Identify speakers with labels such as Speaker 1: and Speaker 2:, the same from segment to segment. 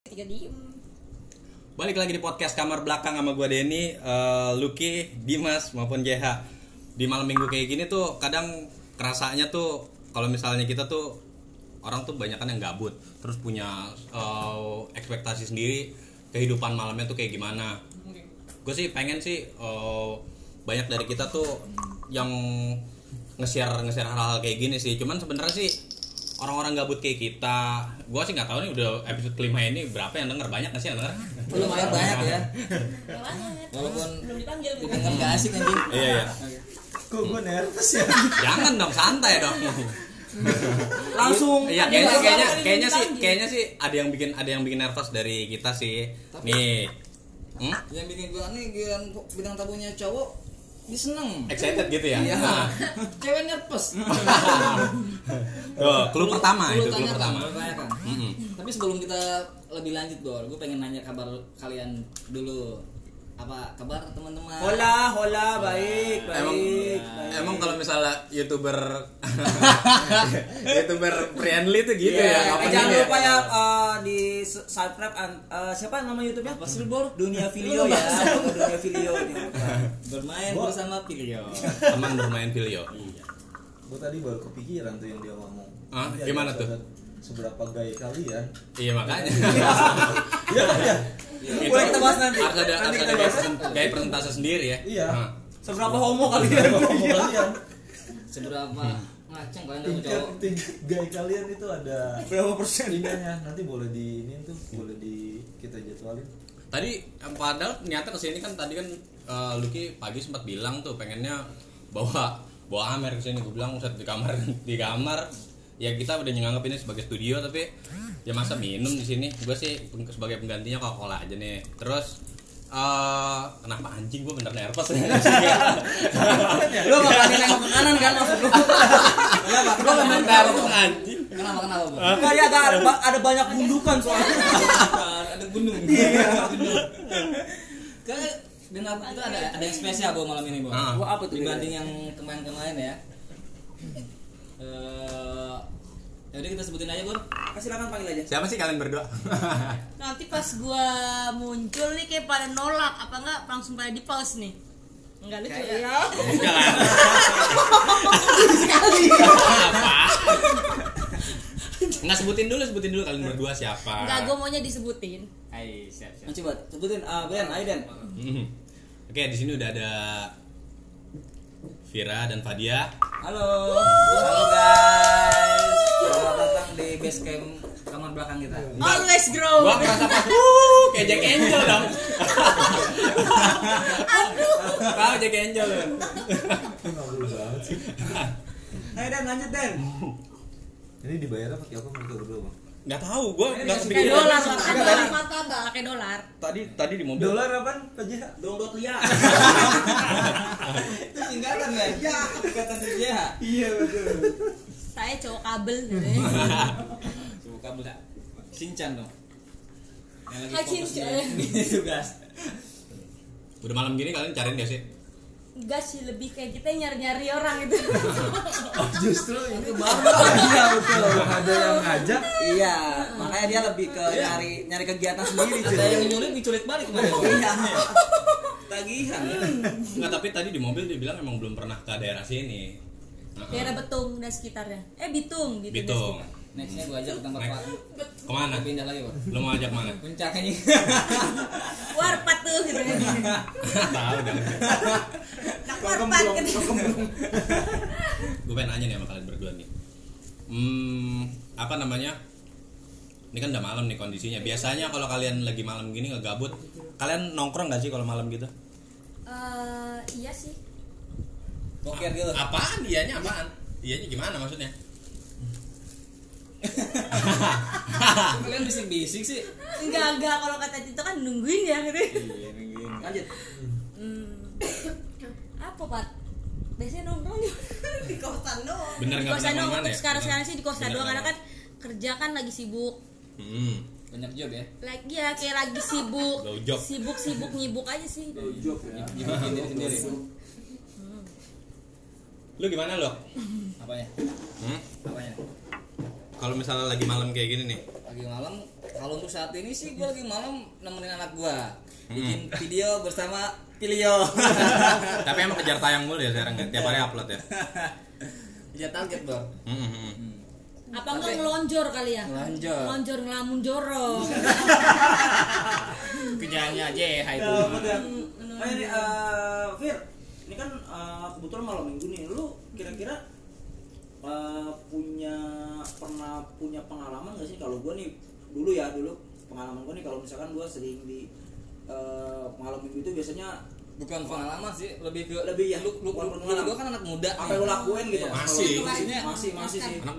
Speaker 1: ketika diem
Speaker 2: Balik lagi di podcast kamar belakang sama gue Denny, eh, Lucky, Dimas maupun JH. Di malam minggu kayak gini tuh kadang kerasanya tuh kalau misalnya kita tuh orang tuh banyak kan yang gabut, terus punya eh, ekspektasi sendiri kehidupan malamnya tuh kayak gimana. Gue sih pengen sih eh, banyak dari kita tuh yang nge-share nge-share hal-hal kayak gini sih. Cuman sebenarnya sih orang-orang gabut kayak kita, gue sih nggak tahu nih udah episode kelima ini berapa yang denger banyak nggak sih yang denger?
Speaker 3: lumayan banyak ya
Speaker 1: Gak banget
Speaker 3: walaupun
Speaker 1: belum dipanggil bu
Speaker 3: didengar nggak asik anjing
Speaker 2: Iya iya.
Speaker 4: Kok gue nervous ya?
Speaker 2: Jangan dong santai dong.
Speaker 3: langsung
Speaker 2: Iya kayaknya
Speaker 1: Iya,
Speaker 2: kayaknya
Speaker 1: iya,
Speaker 2: kayaknya
Speaker 1: iya,
Speaker 2: sih
Speaker 1: iya.
Speaker 2: kayaknya sih ada yang bikin ada yang bikin nervous dari kita sih. Nih. Hmm?
Speaker 3: yang bikin gua nih giliran bidang tabunya cowok dia seneng
Speaker 2: Excited gitu ya.
Speaker 3: iya
Speaker 2: Nah.
Speaker 3: cewek nervous
Speaker 2: Tuh, clue pertama Nah,
Speaker 3: Lu
Speaker 2: itu clue
Speaker 3: tanyakan,
Speaker 2: pertama.
Speaker 3: lu tanyakan.
Speaker 2: Mm-mm.
Speaker 3: tapi sebelum kita lebih lanjut Bor gue pengen nanya kabar kalian dulu apa kabar teman-teman
Speaker 4: Hola, hola, baik, baik.
Speaker 2: Emang
Speaker 4: baik.
Speaker 2: emang kalau misalnya youtuber youtuber friendly tuh gitu
Speaker 3: Iya,
Speaker 2: ya.
Speaker 4: Eh,
Speaker 2: kapan
Speaker 4: jangan
Speaker 2: ini ya?
Speaker 4: lupa ya eh, di su- subscribe an- eh, siapa nama YouTube-nya? Basri Bor Dunia Filio ya. Dunia Filio dibuka.
Speaker 3: bermain
Speaker 5: Bor.
Speaker 3: bersama Pirio
Speaker 2: Teman bermain video.
Speaker 5: gue tadi baru kepikiran tuh yang dia ngomong
Speaker 2: Hah?
Speaker 5: Iya,
Speaker 2: Gimana
Speaker 5: dia
Speaker 2: tuh?
Speaker 5: sadar Seberapa gay kalian
Speaker 2: Iya makanya.
Speaker 5: Iya kan ya?
Speaker 2: Itu
Speaker 4: Boleh kita bahas nanti.
Speaker 2: Harus ada
Speaker 4: Nanti
Speaker 2: harus
Speaker 4: kita
Speaker 2: ada
Speaker 4: bahas.
Speaker 2: gaya- gaya presentase sendiri ya.
Speaker 5: Iya.
Speaker 2: Nah.
Speaker 4: Seberapa homo kalian?
Speaker 5: Seberapa homo kalian
Speaker 3: seberapa
Speaker 2: Hmm.
Speaker 3: ngaceng kalian
Speaker 4: Iya.
Speaker 3: sama
Speaker 5: Tingkat
Speaker 3: cowok
Speaker 5: tingkat gay kalian itu ada
Speaker 4: Berapa persen?
Speaker 5: Ininya nanti boleh di ini tuh boleh di kita jadwalin
Speaker 2: Tadi em, padahal niatnya kesini kan tadi kan eh, Lucky pagi sempat bilang tuh pengennya bawa bawa Amer kesini gue bilang set di kamar di kamar ya kita udah nganggap ini sebagai studio tapi ya masa minum di sini gue sih peng- sebagai penggantinya coca cola aja nih terus eh kenapa anjing gue bener nervous
Speaker 3: lu nggak berani nengok ke kanan kan maksud lu
Speaker 4: Iya.
Speaker 3: kenapa
Speaker 2: gue
Speaker 3: kenapa
Speaker 2: bener nervous anjing
Speaker 3: kenapa kenapa Bor?
Speaker 4: Enggak iya, ada ada- ada banyak gundukan soalnya. Iya.
Speaker 3: ada gunung ke dengar itu ada ada yang spesial bawa malam ini bawa
Speaker 2: Ah.
Speaker 4: Gua apa tuh?
Speaker 3: dibanding yang kemarin-kemarin ya Eh, ya udah kita sebutin aja bor
Speaker 4: Ah, Silakan panggil aja.
Speaker 2: siapa sih kalian berdua
Speaker 1: nanti pas gua muncul nih kayak pada nolak apa enggak langsung pada di pause nih Enggak lucu ya
Speaker 2: enggak lah apa nggak sebutin dulu sebutin dulu kalian berdua siapa
Speaker 1: Enggak gua maunya disebutin
Speaker 3: Ayo, siap siap.
Speaker 4: Coba sebutin ah Ben, ayo Den.
Speaker 2: Hmm. Oke, di sini udah ada Vira dan Fadia.
Speaker 3: Halo. Halo guys. Selamat datang di base camp kamar belakang kita.
Speaker 1: Always grow
Speaker 2: Gua merasa pas wuh, kayak Jack Angel dong. Tahu Jack Angel lu.
Speaker 5: Itu ngobrol banget sih
Speaker 4: Ayo Den lanjut Den.
Speaker 5: Ini dibayar pakai apa mereka berdua bang?
Speaker 2: Enggak tahu, gua enggak
Speaker 1: Kayak
Speaker 2: kepikiran.
Speaker 1: dolar makan
Speaker 2: Iya,
Speaker 1: dolar martabak kayak dolar
Speaker 2: Tadi tadi di mobil.
Speaker 5: Dolar apa? PJH?
Speaker 4: Download lihat.
Speaker 3: Itu singkatan ya? Iya. Singkatan dia.
Speaker 4: Iya betul.
Speaker 1: saya cowok kabel
Speaker 3: Coba kabel dah. Sinchan dong. Yang lagi
Speaker 1: Hai,
Speaker 3: fokus
Speaker 1: Ah, Sinchan.
Speaker 3: di- Ini tugas.
Speaker 2: Udah malam gini kalian cariin gak sih?
Speaker 1: enggak sih lebih kayak kita nyari-nyari orang gitu. itu
Speaker 5: Oh justru ini
Speaker 4: Iya betul.
Speaker 5: ada yang ngajak
Speaker 4: Iya, makanya dia lebih ke nyari nyari kegiatan sendiri
Speaker 3: Iya. Ada yang
Speaker 4: cuy.
Speaker 3: nyulik diculik balik kemarin. Hmm. Bang.
Speaker 4: Iya. Tagihan.
Speaker 2: Enggak, tapi tadi di mobil dia bilang emang belum pernah ke daerah sini. Heeh.
Speaker 1: daerah Betung dan sekitarnya eh Bitung Bitung, dan
Speaker 2: Bitung.
Speaker 1: sekitar.
Speaker 3: Nextnya gue ajak ke tempat
Speaker 2: Next.
Speaker 3: Pak.
Speaker 2: Kemana?
Speaker 3: Gua Pindah lagi bor.
Speaker 2: Lu mau ajak mana?
Speaker 3: Puncaknya nih.
Speaker 1: warpat tuh gitu
Speaker 2: tahu dong.
Speaker 1: Nah, warpat gitu
Speaker 2: gue pengen nanya nih sama kalian berdua nih hmm, apa namanya ini kan udah malam nih kondisinya biasanya kalau kalian lagi malam gini ngegabut kalian nongkrong gak sih kalau malam gitu
Speaker 1: Eh, iya sih
Speaker 3: Boker gitu.
Speaker 2: apaan dianya apaan dianya gimana maksudnya
Speaker 3: Kalian bisik-bisik sih.
Speaker 1: enggak enggak kalau kata Tito kan nungguin ya gitu
Speaker 3: Iya, nungguin.
Speaker 4: Lanjut.
Speaker 1: Hmm. apa Pat? Biasanya nongkrong di kosan doang.
Speaker 2: Bener
Speaker 1: di
Speaker 2: nggak
Speaker 1: kosan
Speaker 2: pernah
Speaker 1: doang.
Speaker 2: kemana-mana
Speaker 1: Untuk
Speaker 2: ya?
Speaker 1: sekarang sekarang sih di kosan
Speaker 2: Bener
Speaker 1: doang karena
Speaker 2: nggak
Speaker 1: kan kerja kan lagi sibuk.
Speaker 2: hmm.
Speaker 3: Banyak job ya.
Speaker 1: Lagi ya kayak lagi sibuk.
Speaker 2: Low job.
Speaker 1: Sibuk sibuk nyibuk aja sih.
Speaker 3: Dibikin diri sendiri.
Speaker 2: lu gimana lo
Speaker 3: Apanya?
Speaker 2: hmm?
Speaker 3: Apanya?
Speaker 2: kalau misalnya lagi malam kayak gini nih
Speaker 3: lagi malam kalau untuk saat ini sih gue lagi malam nemenin anak gue bikin video bersama Pilio
Speaker 2: tapi emang kejar tayang mulu ya sekarang ya tiap hari upload ya
Speaker 3: Dia target bro
Speaker 2: Hmm, hmm, hmm.
Speaker 1: apa enggak ngelonjor kali ya
Speaker 3: Ngelonjor.
Speaker 1: ngelonjor ngelamun jorong
Speaker 3: kerjanya aja ya itu
Speaker 4: Ya, bener. Oh, ini eh, Fir, ini kan eh, kebetulan malam minggu nih. Lu kira-kira eh, punya pernah punya pengalaman gak sih kalau gua nih dulu ya dulu pengalaman gua nih kalau misalkan gua sering di eh, malam minggu itu biasanya
Speaker 3: bukan pengalaman sih lebih ke
Speaker 4: Lebih ya,
Speaker 3: lu lu,
Speaker 4: bukan
Speaker 3: lu,
Speaker 4: pengalaman.
Speaker 3: gue kan anak muda
Speaker 4: apa
Speaker 3: nih.
Speaker 4: yang lu lakuin gitu?
Speaker 3: Iya.
Speaker 4: Kalau-
Speaker 2: Masih.
Speaker 4: masih, masih, masih sih.
Speaker 2: anak 2001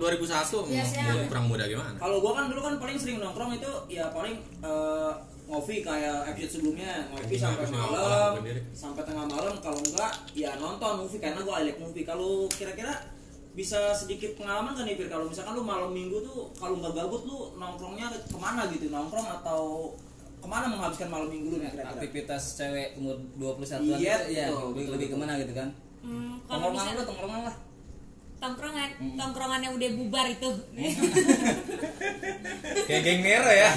Speaker 1: Biasanya.
Speaker 2: mau kurang hmm, muda gimana
Speaker 4: Kalau gua kan dulu kan paling sering nongkrong itu ya paling eh, ngopi kayak episode sebelumnya ngopi
Speaker 2: Anjing,
Speaker 4: sampai
Speaker 2: harus ngawal
Speaker 4: malam
Speaker 2: gua sendiri.
Speaker 4: sampai tengah malam kalau enggak ya nonton movie karena gua I like movie kalau kira-kira bisa sedikit pengalaman kan nih Fir? kalau misalkan lu malam minggu tuh kalau nggak gabut lu nongkrongnya kemana gitu nongkrong atau kemana menghabiskan malam minggu lu nih kira-kira
Speaker 3: aktivitas cewek umur 21 an
Speaker 4: Iya,
Speaker 3: itu ya
Speaker 4: betul,
Speaker 3: lebih,
Speaker 4: betul,
Speaker 3: lebih
Speaker 4: betul.
Speaker 3: kemana gitu kan
Speaker 1: Hmm, kalau
Speaker 3: tongkrongan lu
Speaker 1: bisa
Speaker 3: tongkrongan lah Hmm.
Speaker 1: tongkrongan tongkrongan yang udah bubar itu
Speaker 2: kayak geng Nero ya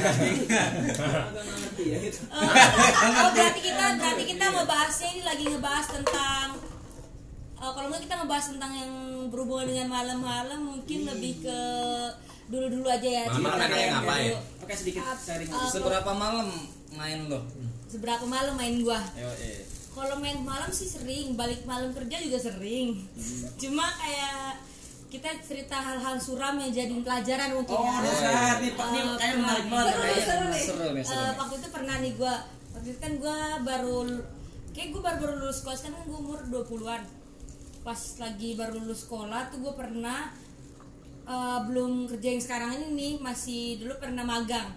Speaker 4: Agak ngerti ya gitu
Speaker 1: oh berarti kita berarti kita mau bahasnya ini lagi ngebahas tentang eh, kalau nggak kita ngebahas tentang yang berhubungan dengan malam-malam
Speaker 4: Hmm.
Speaker 1: mungkin lebih ke dulu-dulu aja ya
Speaker 2: Malam-malam
Speaker 1: cerita
Speaker 2: enaknya
Speaker 1: yang
Speaker 2: ngapain?
Speaker 1: dulu.
Speaker 4: oke sedikit
Speaker 1: Ap-
Speaker 4: sharing
Speaker 1: ap-
Speaker 3: seberapa malam main lo
Speaker 1: seberapa malam main gua
Speaker 3: yo eh
Speaker 1: kalau main malam sih sering balik malam kerja juga sering
Speaker 4: Hmm.
Speaker 1: cuma kayak kita cerita hal-hal suram yang jadi pelajaran untuk
Speaker 4: oh
Speaker 1: ya.
Speaker 4: dasar nih Pak, ini
Speaker 1: Eh,
Speaker 4: kayaknya
Speaker 1: pernah-
Speaker 4: menarik banget
Speaker 1: seru nih,
Speaker 4: kayaknya.
Speaker 1: seru nih.
Speaker 3: Seru nih, seru
Speaker 1: Eh,
Speaker 3: nih.
Speaker 1: waktu itu pernah nih gua waktu itu kan gua baru kayak gua baru baru lulus sekolah kan gua umur 20-an pas lagi baru lulus sekolah tuh gua pernah eh, belum kerja yang sekarang ini nih masih dulu pernah magang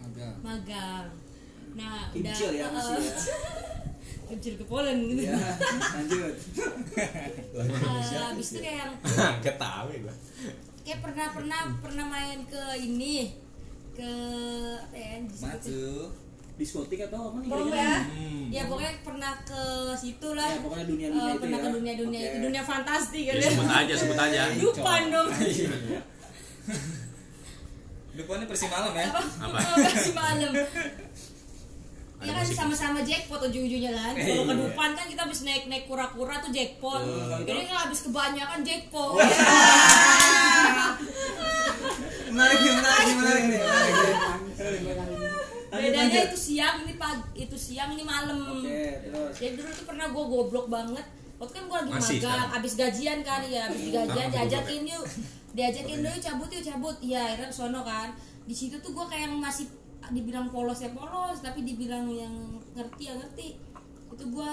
Speaker 3: agak
Speaker 1: magang nah
Speaker 4: Kecil ya, masih ya.
Speaker 1: kecil kepolen gitu
Speaker 4: ya lanjut
Speaker 1: Eh, abis itu kayak yang-
Speaker 2: ketahui gua
Speaker 1: kayak pernah pernah pernah main ke ini ke apa ya
Speaker 3: maju
Speaker 4: diskotik atau apa nih
Speaker 1: pokoknya
Speaker 4: kira-kira?
Speaker 2: Hmm.
Speaker 1: ya pokoknya pernah ke situ lah
Speaker 4: Ya, pokoknya dunia-dunia
Speaker 1: Eh,
Speaker 4: itu
Speaker 1: pernah
Speaker 4: ya.
Speaker 1: ke dunia dunia
Speaker 4: Oke.
Speaker 1: itu dunia fantasti kan
Speaker 2: ya sebut aja sebut aja
Speaker 1: dupan dong
Speaker 4: Iya.
Speaker 3: depannya persi malam ya
Speaker 1: apa
Speaker 2: Apa?
Speaker 1: si malam ya kan
Speaker 2: musik.
Speaker 1: sama-sama jackpot ujung-ujungnya kan
Speaker 4: Iya.
Speaker 1: kalau ke dupan kan kita habis naik-naik kura-kura tuh jackpot jadi kalau habis kebanyakan jackpot Iya.
Speaker 4: menarik nih menarik nih menarik nih menarik nih.
Speaker 1: bedanya itu siang ini pagi itu siang ini malam
Speaker 4: Oke, terus.
Speaker 1: jadi dulu tuh pernah gue goblok banget waktu kan gue lagi
Speaker 2: Masih
Speaker 1: magang
Speaker 2: sekarang?
Speaker 1: abis gajian kan ya abis gajian
Speaker 2: Ah,
Speaker 1: diajakin yuk diajakin dulu cabut yuk cabut ya akhirnya ke sono kan di situ tuh gue kayak yang masih dibilang polos ya polos tapi dibilang yang ngerti ya ngerti itu gue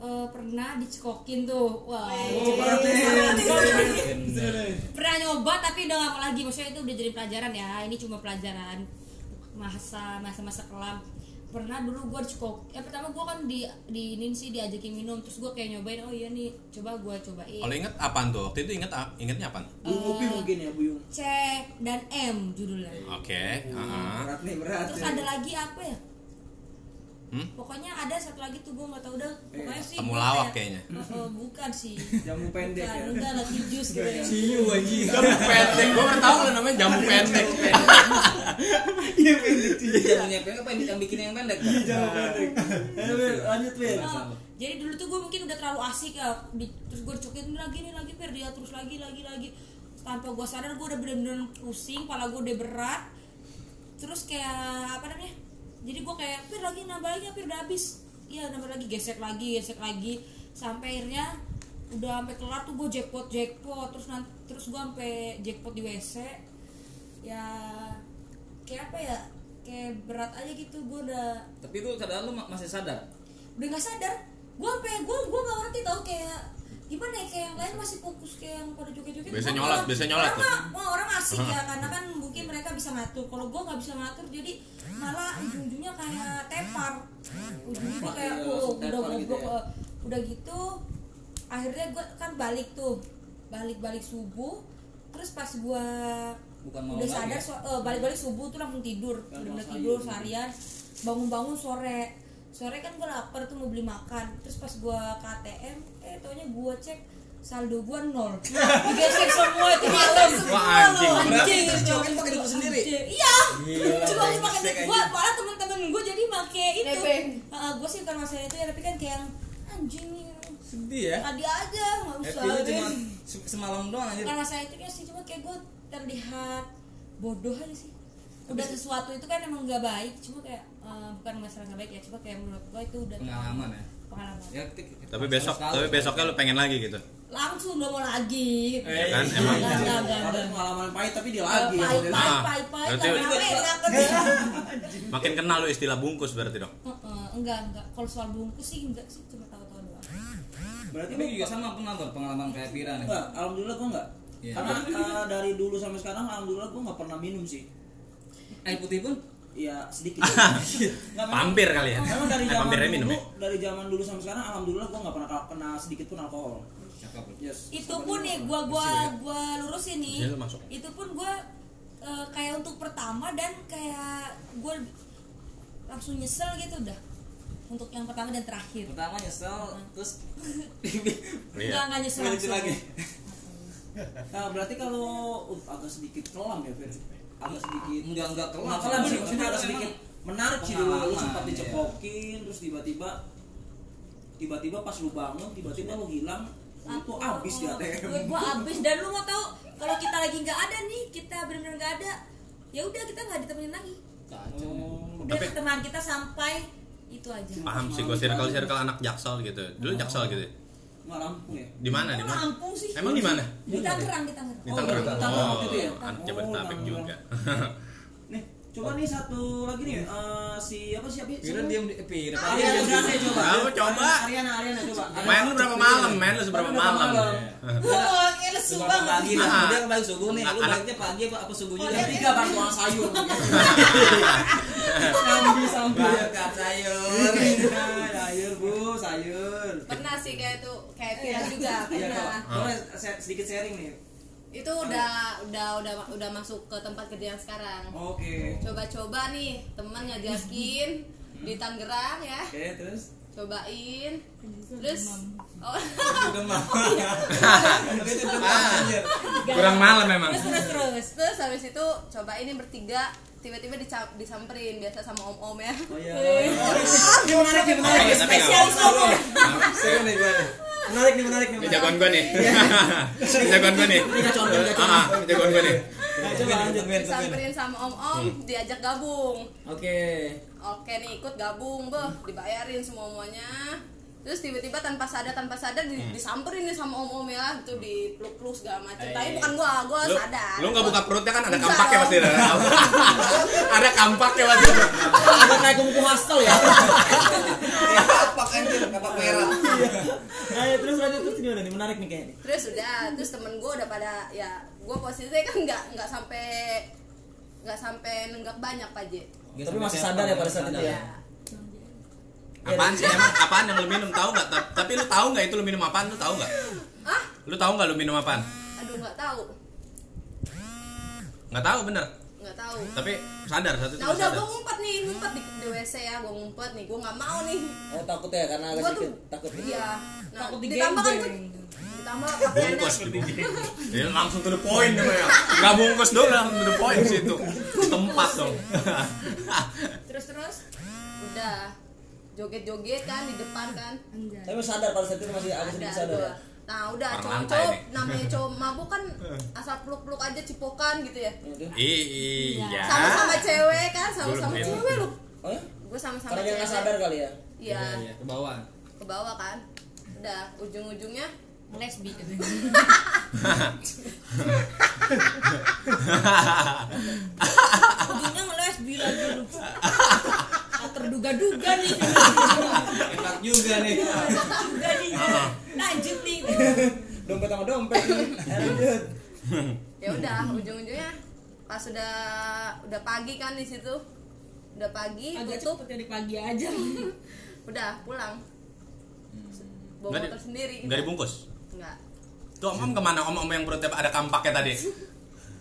Speaker 1: eh, pernah dicekokin tuh wah pernah nyoba tapi udah nggak mau lagi maksudnya itu udah jadi pelajaran ya ini cuma pelajaran masa masa masa kelam pernah dulu gue dicekok ya pertama gue kan di di ini sih diajakin minum terus gue kayak nyobain oh iya nih coba gue cobain
Speaker 2: kalau inget apaan tuh waktu itu inget a- ingetnya apaan
Speaker 4: Buyung Upi mungkin ya Buyung
Speaker 1: C dan M judulnya
Speaker 2: oke ah.
Speaker 4: berat nih berat
Speaker 1: terus
Speaker 4: nih.
Speaker 1: ada lagi apa ya
Speaker 2: Hmm?
Speaker 1: pokoknya ada satu lagi tuh gue nggak tau udah pokoknya sih
Speaker 2: Temu
Speaker 1: gua
Speaker 2: lawak
Speaker 1: kayak-
Speaker 2: kayaknya.
Speaker 1: Eh, eh, bukan sih
Speaker 4: jamu pendek
Speaker 1: bukan
Speaker 4: ya
Speaker 1: enggak lagi jus gitu ya
Speaker 3: ciu anjing
Speaker 2: pendek gua baru tahu kalau namanya jamu pendek
Speaker 4: iya pendek sih
Speaker 3: jamunya pendek apa yang bikin yang pendek
Speaker 4: jamu pendek Eh, Fir, lanjut Fir
Speaker 1: Oh, jadi dulu tuh gue mungkin udah terlalu asik ya di, terus gue dicokin lagi nih lagi per dia terus lagi lagi lagi tanpa gue sadar gue udah bener-bener pusing kepala gue udah berat terus kayak apa namanya jadi gue kayak pir lagi nambah lagi pir udah habis iya nambah lagi gesek lagi gesek lagi sampai akhirnya udah sampai kelar tuh gue jackpot jackpot terus nanti terus gue sampai jackpot di wc ya kayak apa ya kayak berat aja gitu gue udah
Speaker 3: tapi itu keadaan lu ma- masih sadar
Speaker 1: udah nggak sadar gue apa ya gue gue nggak ngerti tau kayak gimana ya kayak yang lain masih fokus kayak yang pada joget-joget
Speaker 2: Biasa
Speaker 1: Gua-
Speaker 2: nyolot,
Speaker 1: orang-
Speaker 2: biasa nyolot
Speaker 1: orang, mah- wah, orang asik ya karena kan mungkin mereka bisa ngatur kalau gue nggak bisa ngatur jadi malah ujung-ujungnya kayak tepar ujungnya gua kayak
Speaker 4: Iya,
Speaker 1: oh
Speaker 4: langsung
Speaker 1: udah
Speaker 4: tepar gitu
Speaker 1: goblok
Speaker 4: ya.
Speaker 1: eh, udah gitu akhirnya gue kan balik tuh balik-balik subuh terus pas gue
Speaker 3: Bukan mau
Speaker 1: udah
Speaker 3: lagi
Speaker 1: sadar
Speaker 3: ya?
Speaker 1: so- eh, balik-balik subuh tuh langsung tidur
Speaker 4: Kan
Speaker 1: udah
Speaker 4: mau
Speaker 1: tidur
Speaker 4: sayur.
Speaker 1: seharian bangun-bangun sore sore kan gue lapar tuh mau beli makan terus pas gue ke ATM eh taunya gue cek saldo gua nol digesek semua itu malam semua
Speaker 2: Wah, anjing.
Speaker 1: loh anjing
Speaker 3: Terus cokin pakai duit sendiri?
Speaker 1: Anjing. iya
Speaker 5: Gila,
Speaker 1: cuma gua pakai duit
Speaker 5: brengsek
Speaker 1: gua malah temen-temen gua jadi make itu
Speaker 6: Nebeng.
Speaker 1: Heeh, gua sih bukan masalah itu ya tapi kan kayak yang, anjing nih
Speaker 3: Sedih ya.
Speaker 1: tadi aja nggak usah
Speaker 3: Happy lu
Speaker 1: deh.
Speaker 3: cuma se- semalam doang anjir.
Speaker 1: bukan masalah itu ya sih cuma kayak gua terlihat bodoh aja sih udah sesuatu itu kan emang nggak baik cuma kayak eh, bukan masalah nggak baik ya cuma kayak menurut gua itu udah
Speaker 3: Pengalaman ya.
Speaker 1: pengalaman
Speaker 3: Ya, ti-
Speaker 2: Tapi besok,
Speaker 3: sekali.
Speaker 2: tapi besoknya lu pengen lagi gitu.
Speaker 1: langsung gak mau lagi
Speaker 2: Ya kan
Speaker 4: iya.
Speaker 2: emang.
Speaker 1: Enggak, enggak, enggak,
Speaker 4: Ada
Speaker 1: enggak.
Speaker 4: pengalaman pahit tapi dia
Speaker 1: Pahit,
Speaker 4: gitu. lagi. ya,
Speaker 1: Eh, pahit,
Speaker 2: Ah,
Speaker 1: pahit, pahit,
Speaker 2: berarti-
Speaker 1: karena apa, enak kan ya?
Speaker 2: Makin kenal lu istilah bungkus berarti dong.
Speaker 1: Heeh, enggak enggak kalau soal bungkus sih enggak sih cuma tahu-tahu doang
Speaker 4: Berarti
Speaker 3: Tapi
Speaker 4: lu
Speaker 3: juga sama pernah Bor, pengalaman kayak Pira nih.
Speaker 4: Enggak, alhamdulillah gua enggak.
Speaker 3: Iya.
Speaker 4: Karena eh, dari dulu sampai sekarang alhamdulillah gua enggak pernah minum sih. Eh,
Speaker 3: Air putih pun
Speaker 4: Iya, sedikit. Enggak
Speaker 2: Pampir kali ya.
Speaker 4: Memang dari
Speaker 2: Eh,
Speaker 4: zaman
Speaker 2: pampirnya
Speaker 4: dulu,
Speaker 2: minum ya.
Speaker 4: dari zaman dulu sampai sekarang alhamdulillah gua enggak pernah kena sedikit pun alkohol.
Speaker 3: cakep.
Speaker 4: Yes.
Speaker 1: itu pun nih gua gua
Speaker 2: ya?
Speaker 1: gua lurusin nih
Speaker 2: Iya, masuk.
Speaker 1: itu pun gua eh, kayak untuk pertama dan kayak gua langsung nyesel gitu udah untuk yang pertama dan terakhir
Speaker 3: Pertama nyesel,
Speaker 4: Hmm.
Speaker 3: terus
Speaker 2: Iya.
Speaker 1: enggak enggak nyesel
Speaker 3: Lanjut
Speaker 1: langsung.
Speaker 3: lagi.
Speaker 4: Nah, berarti kalau uh, agak sedikit kelam ya, Fir. Agak sedikit.
Speaker 3: enggak enggak kelar.
Speaker 4: Nah, kelam sih maksudnya agak sedikit menarik sih dulu lu
Speaker 3: Pengalaman,
Speaker 4: sempat
Speaker 3: iya.
Speaker 4: dicekokin terus tiba-tiba tiba-tiba pas lu bangun tiba-tiba lu hilang lu tuh abis di ATM.
Speaker 1: Duit gua habis dan lu mau tahu kalau kita lagi nggak ada nih, kita benar-benar nggak ada. Ya udah kita nggak ditemenin lagi.
Speaker 4: Oh,
Speaker 1: Udah
Speaker 2: Tapi- Ah,
Speaker 1: teman kita sampai itu aja.
Speaker 2: Paham sih gua circle circle anak jaksel gitu. Dulu jaksel gitu. ya?
Speaker 4: nggak lampu ya?
Speaker 2: Di mana? Di
Speaker 1: Lu
Speaker 2: mana?
Speaker 1: Lampung sih.
Speaker 2: Emang di mana?
Speaker 1: Di Tangerang, di Tangerang.
Speaker 2: Di
Speaker 4: Oh,
Speaker 2: Tangerang.
Speaker 4: di Tangerang waktu itu ya?
Speaker 2: Oh, anak
Speaker 4: Oh,
Speaker 2: Jabodetabek
Speaker 4: Tangerang.
Speaker 2: juga.
Speaker 4: Nih, coba nih satu lagi nih. eh, si apa siapa?
Speaker 3: Pira diam di eh, Pira.
Speaker 4: Ariana Grande coba.
Speaker 2: Kamu coba.
Speaker 4: Ariana, Ariana coba.
Speaker 2: Main lu berapa malam? Main lu seberapa
Speaker 4: Main berapa
Speaker 2: Iya. malam? Iya.
Speaker 4: malam?
Speaker 1: Wah, kayak lesu
Speaker 3: Subuh
Speaker 1: banget.
Speaker 3: pagi lah.
Speaker 2: Ah.
Speaker 3: Dia balik subuh nih. Lu
Speaker 2: Anak-
Speaker 3: baliknya pagi apa apa subuhnya?
Speaker 1: Oh,
Speaker 4: Yang
Speaker 1: dia-
Speaker 4: tiga bang tukang sayur. Sambi sambi.
Speaker 3: Bakat sayur.
Speaker 4: Sayur Iya, kan? bu, sayur.
Speaker 6: pernah sih kayak itu kayak
Speaker 1: Iya
Speaker 6: Pira
Speaker 1: juga
Speaker 4: Iya kok.
Speaker 3: Ah.
Speaker 1: pernah.
Speaker 4: Boleh se- sedikit sharing nih.
Speaker 6: itu udah udah udah udah masuk ke tempat kerja yang sekarang
Speaker 4: Oh. Oke.
Speaker 6: coba-coba nih teman ngajakin di Tangerang ya
Speaker 4: Oke, terus.
Speaker 6: cobain terus oh
Speaker 3: Udah mah.
Speaker 4: Ah.
Speaker 3: Tapi itu udah mah anjir.
Speaker 2: Kurang malam memang.
Speaker 1: Terus terus terus.
Speaker 6: terus habis itu cobain ini bertiga tiba-tiba dica- disamperin biasa sama om-om ya
Speaker 4: Oh iya. Ini menarik nih, menarik.
Speaker 2: Iya, Tapi nggak apa-apa.
Speaker 3: Seru nih gua nih.
Speaker 4: Menarik nih, menarik nih.
Speaker 2: Ini jagoan gua nih. Iya. Ini jagoan gua nih. Ah, ah, ini jagoan gua nih.
Speaker 4: Nah, coba lanjut.
Speaker 3: Temen, temen.
Speaker 6: disamperin sama
Speaker 2: Hmm.
Speaker 6: om-om diajak gabung
Speaker 3: Oke.
Speaker 6: oke nih ikut gabung beh dibayarin semua semuanya terus tiba-tiba tanpa sadar tanpa sadar
Speaker 2: Hmm.
Speaker 6: di- disamperin nih sama om om ya itu di peluk peluk segala macam
Speaker 3: Eh.
Speaker 6: tapi bukan gua gua
Speaker 2: Iya, Lu,
Speaker 6: sadar
Speaker 2: lu nggak buka perutnya kan ada
Speaker 6: Enggak
Speaker 2: kampaknya
Speaker 6: dong.
Speaker 2: pasti ada. ada kampaknya pasti.
Speaker 4: Agak kayak kumpul hostel ya.
Speaker 3: Kapak anjir, kapak merah.
Speaker 4: Ayo Eh, terus lanjut terus gimana nih? Menarik nih kayaknya.
Speaker 6: terus udah terus temen gua udah pada ya gua posisinya kan nggak nggak sampai nggak sampai nenggak banyak pak J
Speaker 4: Tapi masih sadar ya pada saat itu ya?
Speaker 2: Apaan sih emang? Apaan yang lu minum tahu nggak? Ta- Tapi lu tahu nggak itu lu minum apaan? Lu tahu nggak?
Speaker 6: ah
Speaker 2: Lu tahu nggak lu minum apaan?
Speaker 6: aduh nggak tahu
Speaker 2: Nggak tahu bener.
Speaker 6: nggak tahu
Speaker 2: Tapi sadar satu itu
Speaker 6: nah udah
Speaker 2: sadar.
Speaker 6: gua ngumpet nih ngumpet di, di wc ya gua ngumpet nih gua nggak mau nih
Speaker 4: Oh takut ya karena agak
Speaker 6: gua tuh
Speaker 4: sedikit takut.
Speaker 6: iya nah,
Speaker 1: Takut
Speaker 6: ditambah kan
Speaker 1: digendong.
Speaker 6: gua- ditambah pakaiannya-
Speaker 2: Bungkus di Ya langsung to the point ya. namanya. Nggak bungkus dong langsung to the point situ. Tempat dong.
Speaker 6: terus terus udah joget-joget kan di depan kan
Speaker 1: Enggak.
Speaker 4: Tapi sadar pada saat itu masih agak
Speaker 6: ada
Speaker 4: sedikit sadar
Speaker 6: gua.
Speaker 4: ya.
Speaker 6: nah udah
Speaker 2: Orang
Speaker 6: cowok-cowok
Speaker 2: lantai nih.
Speaker 6: namanya cowok mabuk kan asal peluk-peluk aja cipokan gitu ya
Speaker 4: Gitu.
Speaker 2: I- Iya.
Speaker 6: sama-sama cewek kan sama-sama
Speaker 2: Belum, ya.
Speaker 6: cewek lu
Speaker 4: Oh ya?
Speaker 6: gue sama-sama
Speaker 4: Karena dia nggak sadar
Speaker 6: cewek
Speaker 4: kali ya.
Speaker 6: iya
Speaker 3: ke bawah.
Speaker 6: ke bawah kan udah ujung-ujungnya
Speaker 1: Lesbi. Ujungnya ngelesbi lagi lu. Tak terduga-duga nih.
Speaker 3: Enak juga nih.
Speaker 1: Terduga nih. Lanjut nih.
Speaker 4: Dompet sama dompet. nih. Eh, Lanjut.
Speaker 6: ya udah
Speaker 2: Hmm.
Speaker 6: ujung-ujungnya pas udah udah pagi kan di situ udah pagi
Speaker 1: Agak
Speaker 6: tutup
Speaker 1: cepet dari pagi aja.
Speaker 6: udah pulang bawa
Speaker 2: Hmm. Nggak di-
Speaker 6: motor sendiri
Speaker 2: Nggak dibungkus.
Speaker 6: Enggak.
Speaker 2: Tuh om om kemana? Om om yang perutnya ada kampaknya tadi.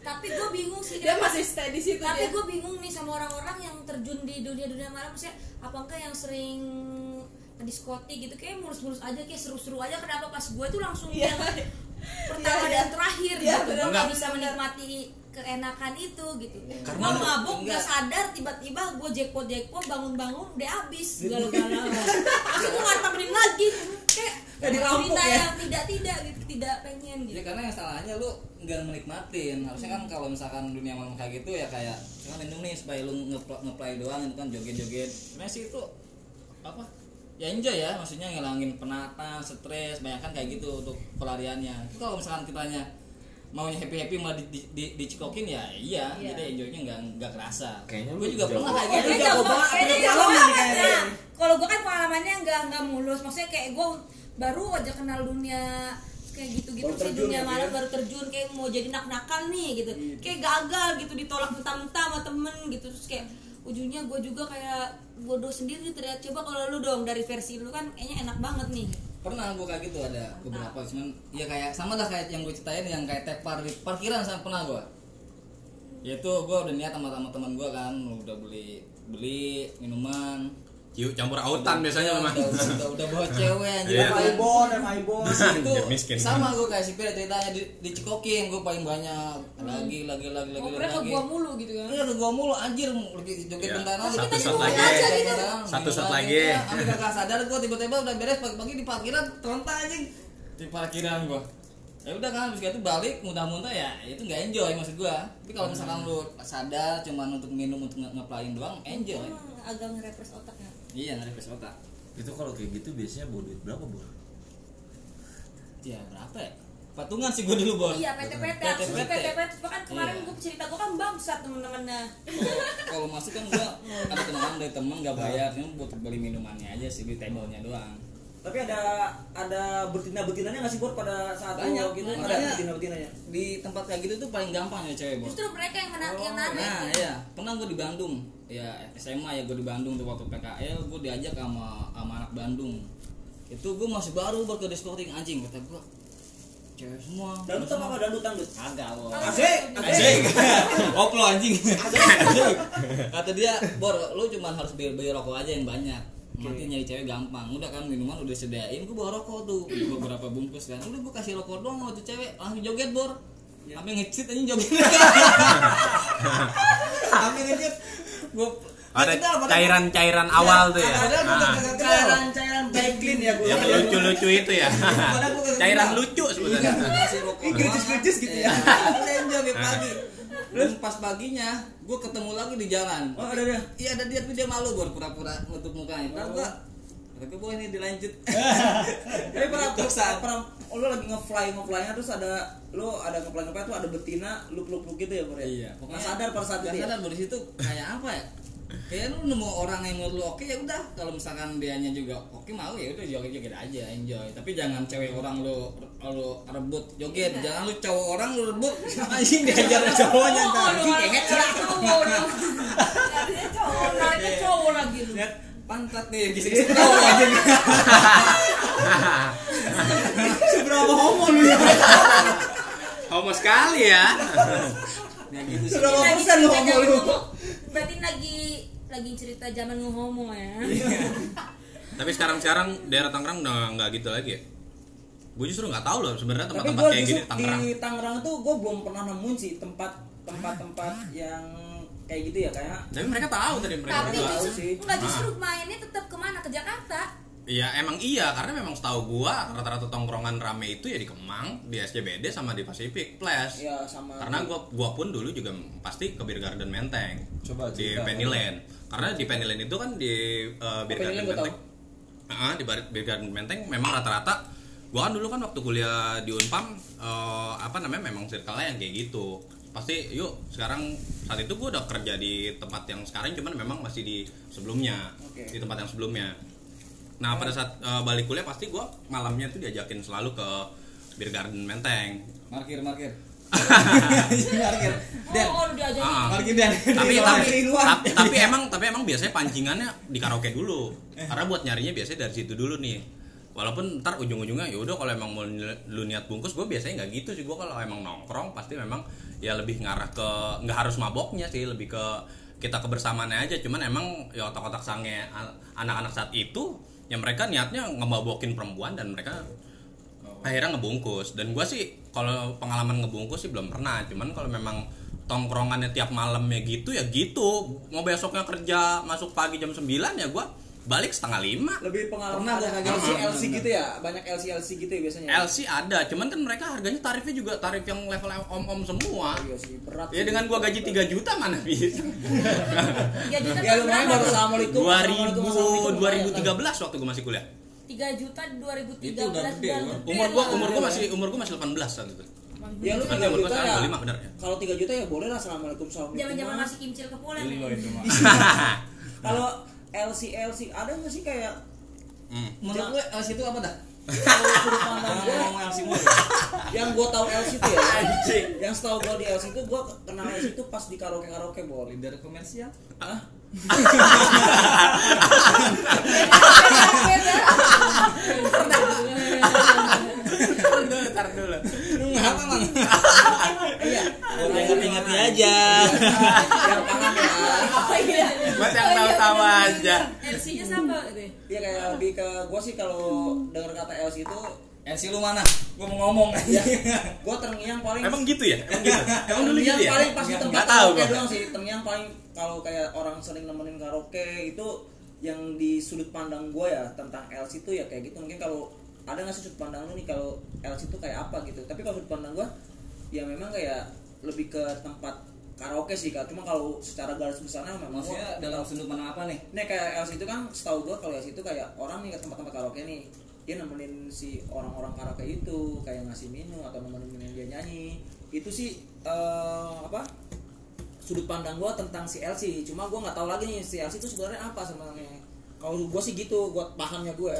Speaker 1: Tapi gue bingung sih
Speaker 6: Dia masih stay di situ
Speaker 1: tapi
Speaker 6: dia.
Speaker 1: gue bingung nih sama orang-orang yang terjun di dunia dunia malam maksudnya apakah yang sering ke diskotik gitu kayak mulus-mulus aja kayak seru-seru aja kenapa pas gue tuh langsung
Speaker 6: Iya.
Speaker 1: yang pertama
Speaker 6: Iya,
Speaker 1: dan
Speaker 6: iya.
Speaker 1: terakhir
Speaker 6: Iya,
Speaker 1: gitu
Speaker 6: benar,
Speaker 1: nggak
Speaker 6: benar,
Speaker 1: bisa
Speaker 6: benar. Iya.
Speaker 1: menikmati keenakan itu gitu
Speaker 2: Karena
Speaker 1: Gua
Speaker 2: lu-
Speaker 1: mabuk
Speaker 3: enggak.
Speaker 1: gak sadar tiba-tiba gue jackpot jackpot bangun-bangun udah habis
Speaker 6: Iya.
Speaker 1: galau-galau terus gue nggak temenin lagi kayak
Speaker 3: Nggak dirampok
Speaker 1: cerita
Speaker 3: ya?
Speaker 1: yang tidak tidak gitu tidak pengen gitu
Speaker 3: Ya karena yang salahnya lu nggak menikmatin. Harusnya kan kalau misalkan dunia malam kayak gitu ya kayak kan minum nih supaya lu nge- ngeplay doang itu kan joget-joget. Messi itu apa? Ya enjoy ya, maksudnya ngilangin penatan, stres, bayangkan kayak gitu untuk pelariannya. Itu kalau misalkan kitanya maunya happy happy malah di, di, di- dicekokin ya iya
Speaker 6: Iya.
Speaker 3: jadi enjoynya nggak nggak kerasa
Speaker 5: Kayaknya
Speaker 3: gue
Speaker 5: lu
Speaker 3: juga
Speaker 5: jauh.
Speaker 3: pernah kayak
Speaker 1: Kayaknya
Speaker 3: gitu
Speaker 4: jago
Speaker 1: jago
Speaker 4: banget,
Speaker 1: kayaknya
Speaker 4: punya
Speaker 1: jago
Speaker 4: pengalaman
Speaker 1: banget.
Speaker 4: kayaknya.
Speaker 1: Nah, iya, kalau gue kan pengalamannya nggak nggak mulus maksudnya kayak gue baru aja kenal dunia kayak gitu-gitu
Speaker 4: Baru
Speaker 1: sih
Speaker 4: terjun
Speaker 1: dunia
Speaker 4: gitu
Speaker 1: malam
Speaker 4: ya.
Speaker 1: baru terjun kayak mau jadi nak-nakan nih gitu kayak gagal gitu ditolak mentah-mentah sama temen gitu terus kayak ujungnya gue juga kayak bodoh sendiri terlihat coba kalau lu dong dari versi lu kan kayaknya enak banget nih
Speaker 3: pernah gue kayak gitu ada beberapa cuman ya kayak sama lah kayak yang gue ceritain yang kayak tepar di parkiran sama pernah gue yaitu gue udah niat sama sama teman gue kan udah beli beli minuman
Speaker 2: Ciu campur autan biasanya ya.
Speaker 3: udah,
Speaker 2: mah.
Speaker 3: udah, udah, udah bawa cewek anjir
Speaker 2: Iya.
Speaker 3: apaan.
Speaker 4: Aibon, em Aibon.
Speaker 3: itu
Speaker 2: Biar miskin.
Speaker 3: sama gue kayak sipir ceritanya di, dicekokin gue paling banyak lagi lagi lagi lagi
Speaker 1: mau
Speaker 3: Iya, lagi
Speaker 1: ke gua mulu gitu kan
Speaker 3: Iya ke gua mulu anjir joget joget
Speaker 2: Iya.
Speaker 3: bentar aja.
Speaker 2: Satu
Speaker 3: Kita
Speaker 2: shot
Speaker 3: juga
Speaker 2: lagi.
Speaker 3: aja
Speaker 2: Satu
Speaker 3: gitu. Gila
Speaker 2: shot
Speaker 3: gitu.
Speaker 2: lagi.
Speaker 3: Ya, Sampai kakak sadar gua tiba-tiba udah beres pagi-pagi di parkiran terlentang anjing. Di parkiran gua. Ya udah kan habis itu balik muntah-muntah ya itu nggak enjoy maksud gua. Tapi kalau misalkan lu sadar cuman untuk minum untuk nge- ngeplayin doang enjoy.
Speaker 1: Emang Hmm, agak ngerepres otaknya
Speaker 3: Iya nge-refresh otak.
Speaker 5: Itu kalau kayak gitu biasanya bawa duit berapa, Bu?
Speaker 3: Ya berapa ya? Patungan sih gua dulu bor.
Speaker 1: iya PT-PT aku
Speaker 3: PT.
Speaker 1: PT-PT bahkan kan kemarin
Speaker 3: Iya.
Speaker 1: gue cerita gue kan bangsat temen-temennya
Speaker 3: Kalau masuk kan gua ada kenalan dari temen nggak bayar cuma buat beli minumannya aja sih beli tablenya doang.
Speaker 4: Tapi ada ada betina betinanya nggak sih buat pada saat lu
Speaker 3: Banyak,
Speaker 4: gitu?
Speaker 3: banyak.
Speaker 4: Ada betina betinanya.
Speaker 3: di tempat kayak gitu tuh paling gampang ya cewek bos
Speaker 1: justru mereka yang menarik yang narik
Speaker 3: nah iya pernah gue di Bandung ya SMA ya gue di Bandung tuh waktu PKL gue diajak sama sama anak Bandung itu gue masih baru baru ke diskotik anjing kata gue cewek semua
Speaker 4: Dangdut apa apa dangdut dangdut? Eh,
Speaker 3: agak bos
Speaker 4: Asik, asik.
Speaker 3: Anjing. Oplo anjing. Kata dia, "Bor, lu cuma harus beli, beli rokok aja yang banyak. Nanti nyari cewek gampang. Udah kan minuman udah sedain, gua bawa rokok tuh. Gua berapa bungkus kan. Udah gua kasih rokok doang sama tuh cewek, langsung joget, Bor.
Speaker 4: Ya.
Speaker 3: Sampai ngecit anjing joget. Sampai ngecit. Gua
Speaker 2: Ada
Speaker 3: Padahal- padahal-
Speaker 2: cairan-cairan awal tuh ya.
Speaker 3: Padahal gua
Speaker 2: Ah,
Speaker 3: kagak kenal.
Speaker 4: Cairan cairan baik clean ya gue.
Speaker 2: Yang
Speaker 3: Iya,
Speaker 2: lucu-lucu itu ya.
Speaker 3: Padahal gua kagak
Speaker 2: Cairan
Speaker 3: kenal.
Speaker 2: lucu
Speaker 3: Iya,
Speaker 2: sebenarnya.
Speaker 3: kasih rokok
Speaker 4: Gericis-gericis gitu ya. Eh.
Speaker 3: Lenjol ya pagi. Terus pas paginya, gue ketemu lagi di jalan.
Speaker 4: Oh ada ada.
Speaker 3: Iya ada dia tapi dia malu buat pura-pura nutup mukanya. Ntar
Speaker 4: Oh.
Speaker 3: gua tapi gua ini dilanjut.
Speaker 4: Tapi pernah
Speaker 3: Gitu,
Speaker 4: pernah
Speaker 3: San.
Speaker 4: pernah oh, lu lagi ngefly ngeflynya terus ada lu ada ngefly ngefly tuh ada betina lu peluk peluk gitu ya Bor ya? Nggak sadar pada
Speaker 3: Iya,
Speaker 4: saat
Speaker 3: Nggak
Speaker 4: itu. ya?
Speaker 3: sadar dari situ kayak apa ya? Kayak lu nemu orang yang menurut lu oke ya udah kalau misalkan dianya juga oke mau ya udah joget-joget aja enjoy. Tapi jangan cewek orang lu lu rebut joget, jangan lu cowok orang lu rebut anjing diajar cowoknya ntar. anjing kayak
Speaker 1: cowok dong Carinya cowok nariknya cowok lagi lu
Speaker 3: lihat pantat nih gising-gising tahu aja nih.
Speaker 4: Seberapa homo lu
Speaker 3: Iya.
Speaker 4: ya?
Speaker 2: Homo sekali ya.
Speaker 3: Nah gitu sih.
Speaker 4: Seberapa
Speaker 1: Lagi
Speaker 4: persen lu
Speaker 1: cerita
Speaker 4: homo
Speaker 1: zaman
Speaker 4: lu?
Speaker 1: homo. berarti lagi lagi cerita zaman homo ya
Speaker 2: Tapi sekarang-sekarang daerah Tangerang udah nggak gitu lagi ya. Gue justru nggak tahu loh sebenarnya
Speaker 4: Tapi
Speaker 2: tempat-tempat
Speaker 4: gue
Speaker 2: kayak
Speaker 4: justru
Speaker 2: gini di Tangerang.
Speaker 4: di Tangerang tuh gue belum pernah nemuin sih tempat tempat tempat yang kayak gitu ya kayak
Speaker 2: Tapi mereka tahu tadi mereka
Speaker 1: tapi
Speaker 2: berdua.
Speaker 4: tahu
Speaker 1: justru
Speaker 4: sih.
Speaker 1: nggak justru mainnya tetap kemana ke Jakarta
Speaker 2: Iya emang iya karena memang setahu gua rata-rata tongkrongan rame itu ya di Kemang, di SCBD sama di Pacific Place.
Speaker 4: ya sama
Speaker 2: Karena gua gua pun dulu juga pasti ke Beer Garden Menteng.
Speaker 5: Coba
Speaker 2: di
Speaker 5: cerita.
Speaker 2: Pennyland. Karena di Pennyland itu kan di eh, Beer Garden
Speaker 4: Pennyland gua
Speaker 2: Menteng. Ah, di Bar- Beer Garden Menteng memang rata-rata gua kan dulu kan waktu kuliah di Unpam eh, apa namanya memang circle-nya yang kayak gitu. Pasti yuk sekarang saat itu gua udah kerja di tempat yang sekarang cuman memang masih di sebelumnya.
Speaker 4: Oke.
Speaker 2: Di tempat yang sebelumnya. Nah, pada saat eh, balik kuliah pasti gua malamnya tuh diajakin selalu ke Beer Garden Menteng.
Speaker 3: Markir, markir. markir. Dan
Speaker 1: oh udah diajakin
Speaker 2: Ah.
Speaker 3: Markin dan
Speaker 2: tapi
Speaker 4: Dari luar,
Speaker 2: tapi
Speaker 4: dari luar.
Speaker 2: tap- tapi emang tapi emang biasanya pancingannya di karaoke dulu karena buat nyarinya biasanya dari situ dulu nih walaupun ntar ujung-ujungnya ya udah kalau emang mau ni- lu niat bungkus gue biasanya nggak gitu sih gue kalau emang nongkrong pasti memang ya lebih ngarah ke nggak harus maboknya sih lebih ke kita kebersamaannya aja cuman emang ya otak-otak sange an- anak-anak saat itu ya mereka niatnya ngemabokin perempuan dan mereka akhirnya ngebungkus dan gua sih kalau pengalaman ngebungkus sih belum pernah cuman kalau memang tongkrongannya tiap malam ya gitu ya gitu mau besoknya kerja masuk pagi jam 9 ya gua balik setengah lima
Speaker 4: lebih pengalaman
Speaker 3: Pernah
Speaker 4: ada
Speaker 3: gua kagak.
Speaker 4: LC LC
Speaker 3: Pernah.
Speaker 4: gitu ya banyak LC LC gitu ya biasanya
Speaker 2: LC ada cuman kan mereka harganya tarifnya juga tarif yang level om-om semua
Speaker 4: iya sih berat
Speaker 2: ya
Speaker 4: sih.
Speaker 2: dengan gua gaji 3 juta mana bisa
Speaker 1: tiga juta
Speaker 4: ya lumayan baru assalamualaikum
Speaker 2: 2000
Speaker 4: Assalamualaikum, Assalamualaikum, lumayan lah.
Speaker 2: 2013 waktu gua masih kuliah
Speaker 1: tiga juta dua ribu
Speaker 3: Itu
Speaker 1: tiga
Speaker 3: udah
Speaker 1: belas
Speaker 3: gede, Bro.
Speaker 4: Iya,
Speaker 2: umur gua umur gua masih umur gua masih 18 saat itu
Speaker 4: ya lu
Speaker 2: Berarti
Speaker 4: 3
Speaker 2: umur gua
Speaker 4: juta
Speaker 2: sekarang
Speaker 4: ya
Speaker 2: 25, bener ya?
Speaker 4: kalau 3 juta ya boleh lah assalamualaikum assalamualaikum
Speaker 1: zaman zaman
Speaker 4: Mas.
Speaker 1: masih kimcil ke polen
Speaker 7: Gila itu mah.
Speaker 4: kalau LC LC ada nggak sih kayak
Speaker 2: Hmm.
Speaker 3: menurut lu LC itu eh, apa dah
Speaker 4: kalau sudut pandang
Speaker 3: Jangan
Speaker 4: gua
Speaker 3: ngomong LC mulu
Speaker 4: yang gue tahu LC itu ya yang setahu gue di LC itu gue kenal LC itu pas di karaoke karaoke bol
Speaker 3: leader komersial
Speaker 1: Ah, iya,
Speaker 2: Ntar dulu.
Speaker 3: ngapa mang
Speaker 4: iya
Speaker 3: Buat yang ngerti-ngerti aja
Speaker 4: yang tangan ya
Speaker 1: Oh, iya.
Speaker 2: Buat yang tahu-tahu aja.
Speaker 1: LC nya iya. siapa gitu ya?
Speaker 4: Iya kayak lebih ke gue sih kalau dengar kata LC itu
Speaker 3: LC lu mana gua mau ngomong
Speaker 4: ya gue terngiang paling
Speaker 2: Emang gitu ya? Emang gitu. Emang dulu
Speaker 4: terngiang
Speaker 2: gitu ya?
Speaker 4: paling pas di tempat
Speaker 2: Nggak tahu
Speaker 4: karaoke
Speaker 2: gua.
Speaker 4: doang sih terngiang paling kalau kayak orang sering nemenin karaoke itu yang di sudut pandang gue ya tentang LC itu ya kayak gitu mungkin kalau ada nggak sih sudut pandang lu nih kalau LC itu kayak apa gitu tapi kalau sudut pandang gue ya memang kayak lebih ke tempat karaoke sih kak cuma kalau secara garis besarnya memang gua-
Speaker 3: maksudnya dalam sudut pandang apa nih
Speaker 4: Nih kayak LC itu kan setahu gua kalau LC itu kayak orang nih ke tempat-tempat karaoke nih dia nemenin si orang-orang karaoke itu kayak ngasih minum atau nemenin dia nyanyi itu sih eh, apa sudut pandang gua tentang si LC cuma gua nggak tahu lagi nih si LC itu sebenarnya apa sebenarnya kalau gua sih gitu gua pahamnya gue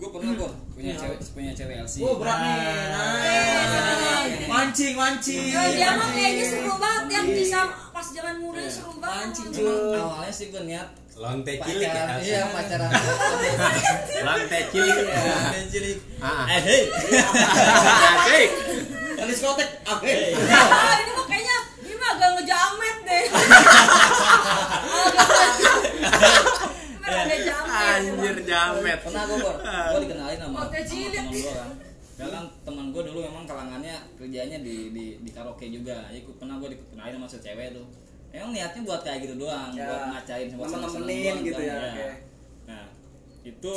Speaker 3: gua pernah kok punya
Speaker 4: Iya.
Speaker 3: cewek punya cewek LC
Speaker 4: oh berat nih nah. mancing mancing
Speaker 1: Eh, dia mah kayaknya
Speaker 4: mancing.
Speaker 1: seru banget yang bisa pas zaman muda
Speaker 2: Iya,
Speaker 1: seru banget Nah,
Speaker 4: Mancing,
Speaker 1: mancing.
Speaker 4: cuy.
Speaker 3: Emang awalnya sih gua niat
Speaker 2: Lonte cilik ya.
Speaker 3: pacaran
Speaker 2: Elsa.
Speaker 3: iya pacaran Iya,
Speaker 2: Lonte cilik.
Speaker 3: Lonte cilik
Speaker 2: Ah.
Speaker 3: eh hei
Speaker 2: Asik.
Speaker 4: Ke diskotek oke
Speaker 1: Ah, ini mah kayaknya ini mah agak ngejamet deh. Agak ada jamet.
Speaker 2: Anjir jamet.
Speaker 3: pernah gue bor gue dikenalin sama
Speaker 1: Oke,
Speaker 3: sama
Speaker 1: cilik.
Speaker 3: teman gue kan Ya kan teman gue dulu memang kalangannya kerjanya di di, di karaoke juga jadi gua- pernah gue dikenalin sama secewek tuh emang niatnya buat kayak gitu doang
Speaker 4: Ya,
Speaker 3: buat ngacain buat seneng-seneng
Speaker 4: nemen-nemenin
Speaker 3: doang
Speaker 4: gitu
Speaker 3: kan,
Speaker 4: ya, oke.
Speaker 3: nah itu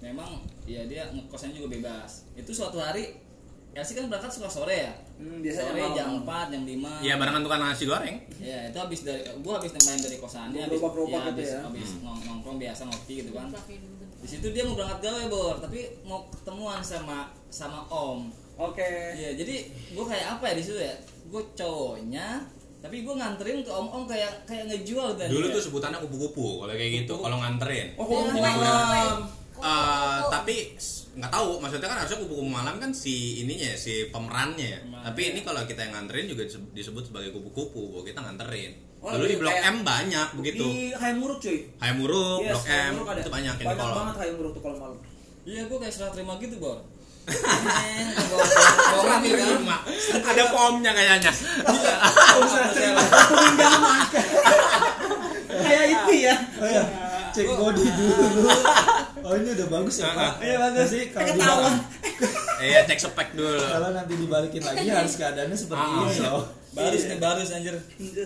Speaker 3: memang ya dia ngekosnya juga bebas itu suatu hari Elsi kan berangkat suka sore ya
Speaker 4: Hmm, biasanya
Speaker 3: sore
Speaker 4: malam.
Speaker 3: jam 4 jam 5
Speaker 2: Iya barengan tukang nasi goreng.
Speaker 3: Ya itu habis dari gua habis main dari kosannya habis
Speaker 4: Gerobak-gerobak gitu
Speaker 3: habis,
Speaker 4: ya.
Speaker 3: habis nong- nongkrong biasa ngopi gitu kan. Di situ dia mau berangkat gawe bor, tapi mau ketemuan sama sama Om.
Speaker 4: oke
Speaker 3: Iya, jadi gua kayak apa ya di situ ya? Gua cowoknya, tapi gua nganterin ke Om Om kayak kayak ngejual tadi.
Speaker 2: Dulu
Speaker 3: ya.
Speaker 2: tuh sebutannya kupu-kupu kalau kayak gitu, kalau nganterin.
Speaker 4: oh kok
Speaker 1: Iya,
Speaker 4: malam
Speaker 2: Eh, tapi s- nggak tahu maksudnya kan harusnya kupu-kupu malam kan si ininya ya, si pemerannya ya.
Speaker 3: Pemeran.
Speaker 2: tapi ini kalau kita yang nganterin juga disebut- disebut sebagai kupu-kupu bahwa kita nganterin
Speaker 4: Oh,
Speaker 2: dulu di
Speaker 4: iya,
Speaker 2: blok
Speaker 4: kayak-
Speaker 2: M banyak begitu
Speaker 4: di Hayam Muruk cuy
Speaker 2: Hayam Muruk,
Speaker 4: Yes,
Speaker 2: blok
Speaker 4: Hayam
Speaker 2: M
Speaker 4: Muruk ada.
Speaker 2: itu banyak yang di
Speaker 4: banyak
Speaker 2: kolong
Speaker 4: banget Hayam Muruk tuh kalau malam
Speaker 3: Iya, gua kayak serah terima gitu bor. Eh, bawa- bawa- bawa
Speaker 2: Orang
Speaker 3: mobil kan.
Speaker 2: terima. ada formnya kayaknya
Speaker 4: kayak itu ya
Speaker 5: Cek body dulu. Oh ini udah bagus ya Pak. Iya bagus. Nanti kalau
Speaker 4: Ketahuan.
Speaker 5: dibalik-
Speaker 2: iya cek spek dulu
Speaker 5: kalau nanti dibalikin lagi harus keadaannya seperti
Speaker 2: Ah,
Speaker 5: ini loh.
Speaker 3: Barus nih barus anjir. Iya.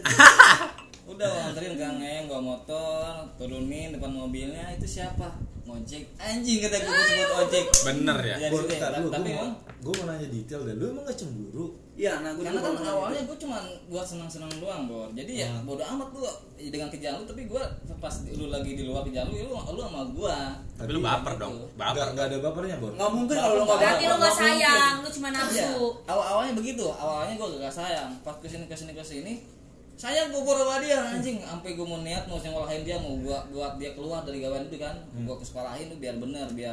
Speaker 3: Udah gua anterin Kang Eng bawa motor, turunin depan mobilnya itu siapa? Ngojek. Anjing kata gue gua sebut ojek.
Speaker 2: bener ya
Speaker 3: Iya,
Speaker 5: Gua
Speaker 3: sih,
Speaker 5: bentar lu,
Speaker 3: tapi
Speaker 5: gue mau,
Speaker 3: emang
Speaker 5: gua mau nanya detail deh. Lu emang gak cemburu?
Speaker 4: iya nah gue
Speaker 3: karena kan awalnya gue cuma buat senang-senang doang bor jadi ya bodo amat lu ya, dengan kerjaan lu tapi gue pas di- lu lagi di luar kerjaan lu ya lu, lu sama gue
Speaker 2: tapi lu baper dong
Speaker 5: Gak,
Speaker 2: baper
Speaker 5: gak ada bapernya Bor?
Speaker 4: nggak mungkin kalau lo nggak
Speaker 1: Berarti lu gak
Speaker 4: mungkin.
Speaker 1: sayang, lu
Speaker 2: Iya.
Speaker 1: cuma
Speaker 3: ya,
Speaker 1: nafsu.
Speaker 3: awal awalnya begitu awalnya gue gak sayang pas kesini kesini kesini sayang gue bor sama dia anjing sampai gue mau niat mau nyengolahin dia mau gua buat dia keluar dari gawean itu kan gua gue sekolahin lu biar bener biar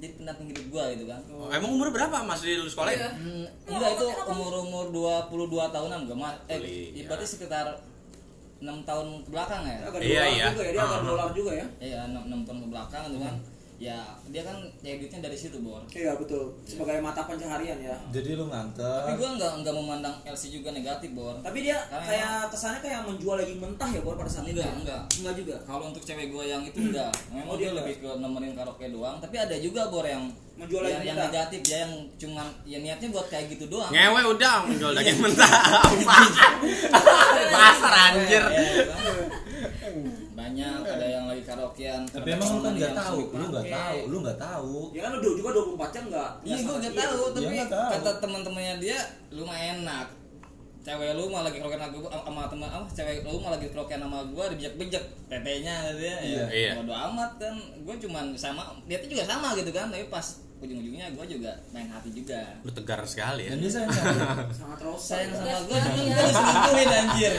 Speaker 3: jadi pendamping hidup gue gitu kan
Speaker 2: Oh, emang umur berapa mas di lu sekolah
Speaker 6: Iya.
Speaker 3: Hmm, enggak itu umur-umur 22 tahunan enggak mas. Eh,
Speaker 2: Iya.
Speaker 3: berarti sekitar 6 tahun ke belakang ya.
Speaker 4: Agak
Speaker 2: Iya,
Speaker 4: dolar
Speaker 2: iya.
Speaker 4: juga ya dia agak
Speaker 2: Ah.
Speaker 4: dolar juga ya
Speaker 3: Iya, 6, tahun ke belakang itu kan. ya dia kan ya duitnya dari situ bor
Speaker 4: Iya betul. Sebagai mata pencaharian ya.
Speaker 5: Jadi lu
Speaker 3: tapi
Speaker 5: nganter.
Speaker 3: gue nggak nggak memandang LC juga negatif bor
Speaker 4: Tapi dia
Speaker 3: Karena
Speaker 4: kayak kesannya kayak menjual lagi mentah ya buat pada saat
Speaker 3: Nah,
Speaker 4: itu.
Speaker 3: ya. enggak enggak
Speaker 4: Enggak juga.
Speaker 3: kalau untuk cewek gue yang itu enggak memang dia
Speaker 4: Oh, dia enggak.
Speaker 3: lebih ke nemenin karaoke doang tapi ada juga bor yang
Speaker 4: Menjual
Speaker 3: ya,
Speaker 4: lagi
Speaker 3: yang
Speaker 4: kita.
Speaker 3: negatif dia yang cuman ya niatnya buat kayak gitu doang
Speaker 2: Ngewe udah menjual daging
Speaker 5: Iya.
Speaker 2: mentah. Apaan? Pasar anjir.
Speaker 3: Ya,
Speaker 5: Iya,
Speaker 3: ya, bang. iya. banyak ada yang lagi karaokean
Speaker 5: Tapi
Speaker 3: ada
Speaker 5: emang lu kan
Speaker 3: temen
Speaker 5: nggak
Speaker 3: yang
Speaker 5: tahu,
Speaker 3: sulit
Speaker 5: lu nggak
Speaker 3: pakai.
Speaker 5: tahu, lu nggak tahu.
Speaker 4: Ya kan udah juga 24 jam enggak.
Speaker 3: Iya gue nggak tahu,
Speaker 5: Dia
Speaker 3: tapi ya
Speaker 5: nggak iya, tahu.
Speaker 3: kata teman-temannya dia lumayan enak. Cewek lu malah lagi kerokan aku sama teman apa cewek lu malah lagi kerokan sama gua dibejek-bejek tetenya dia
Speaker 5: Iya.
Speaker 2: Iya.
Speaker 3: ya. Bodo amat kan. Gua cuman sama dia tuh juga sama gitu kan, tapi pas ujung-ujungnya gua juga main hati juga.
Speaker 2: Lu tegar sekali ya.
Speaker 5: Dan dia sayang sama lu.
Speaker 4: Sangat rosa.
Speaker 3: Sayang
Speaker 4: ya.
Speaker 3: sama gua kan gua diselingkuhin anjir.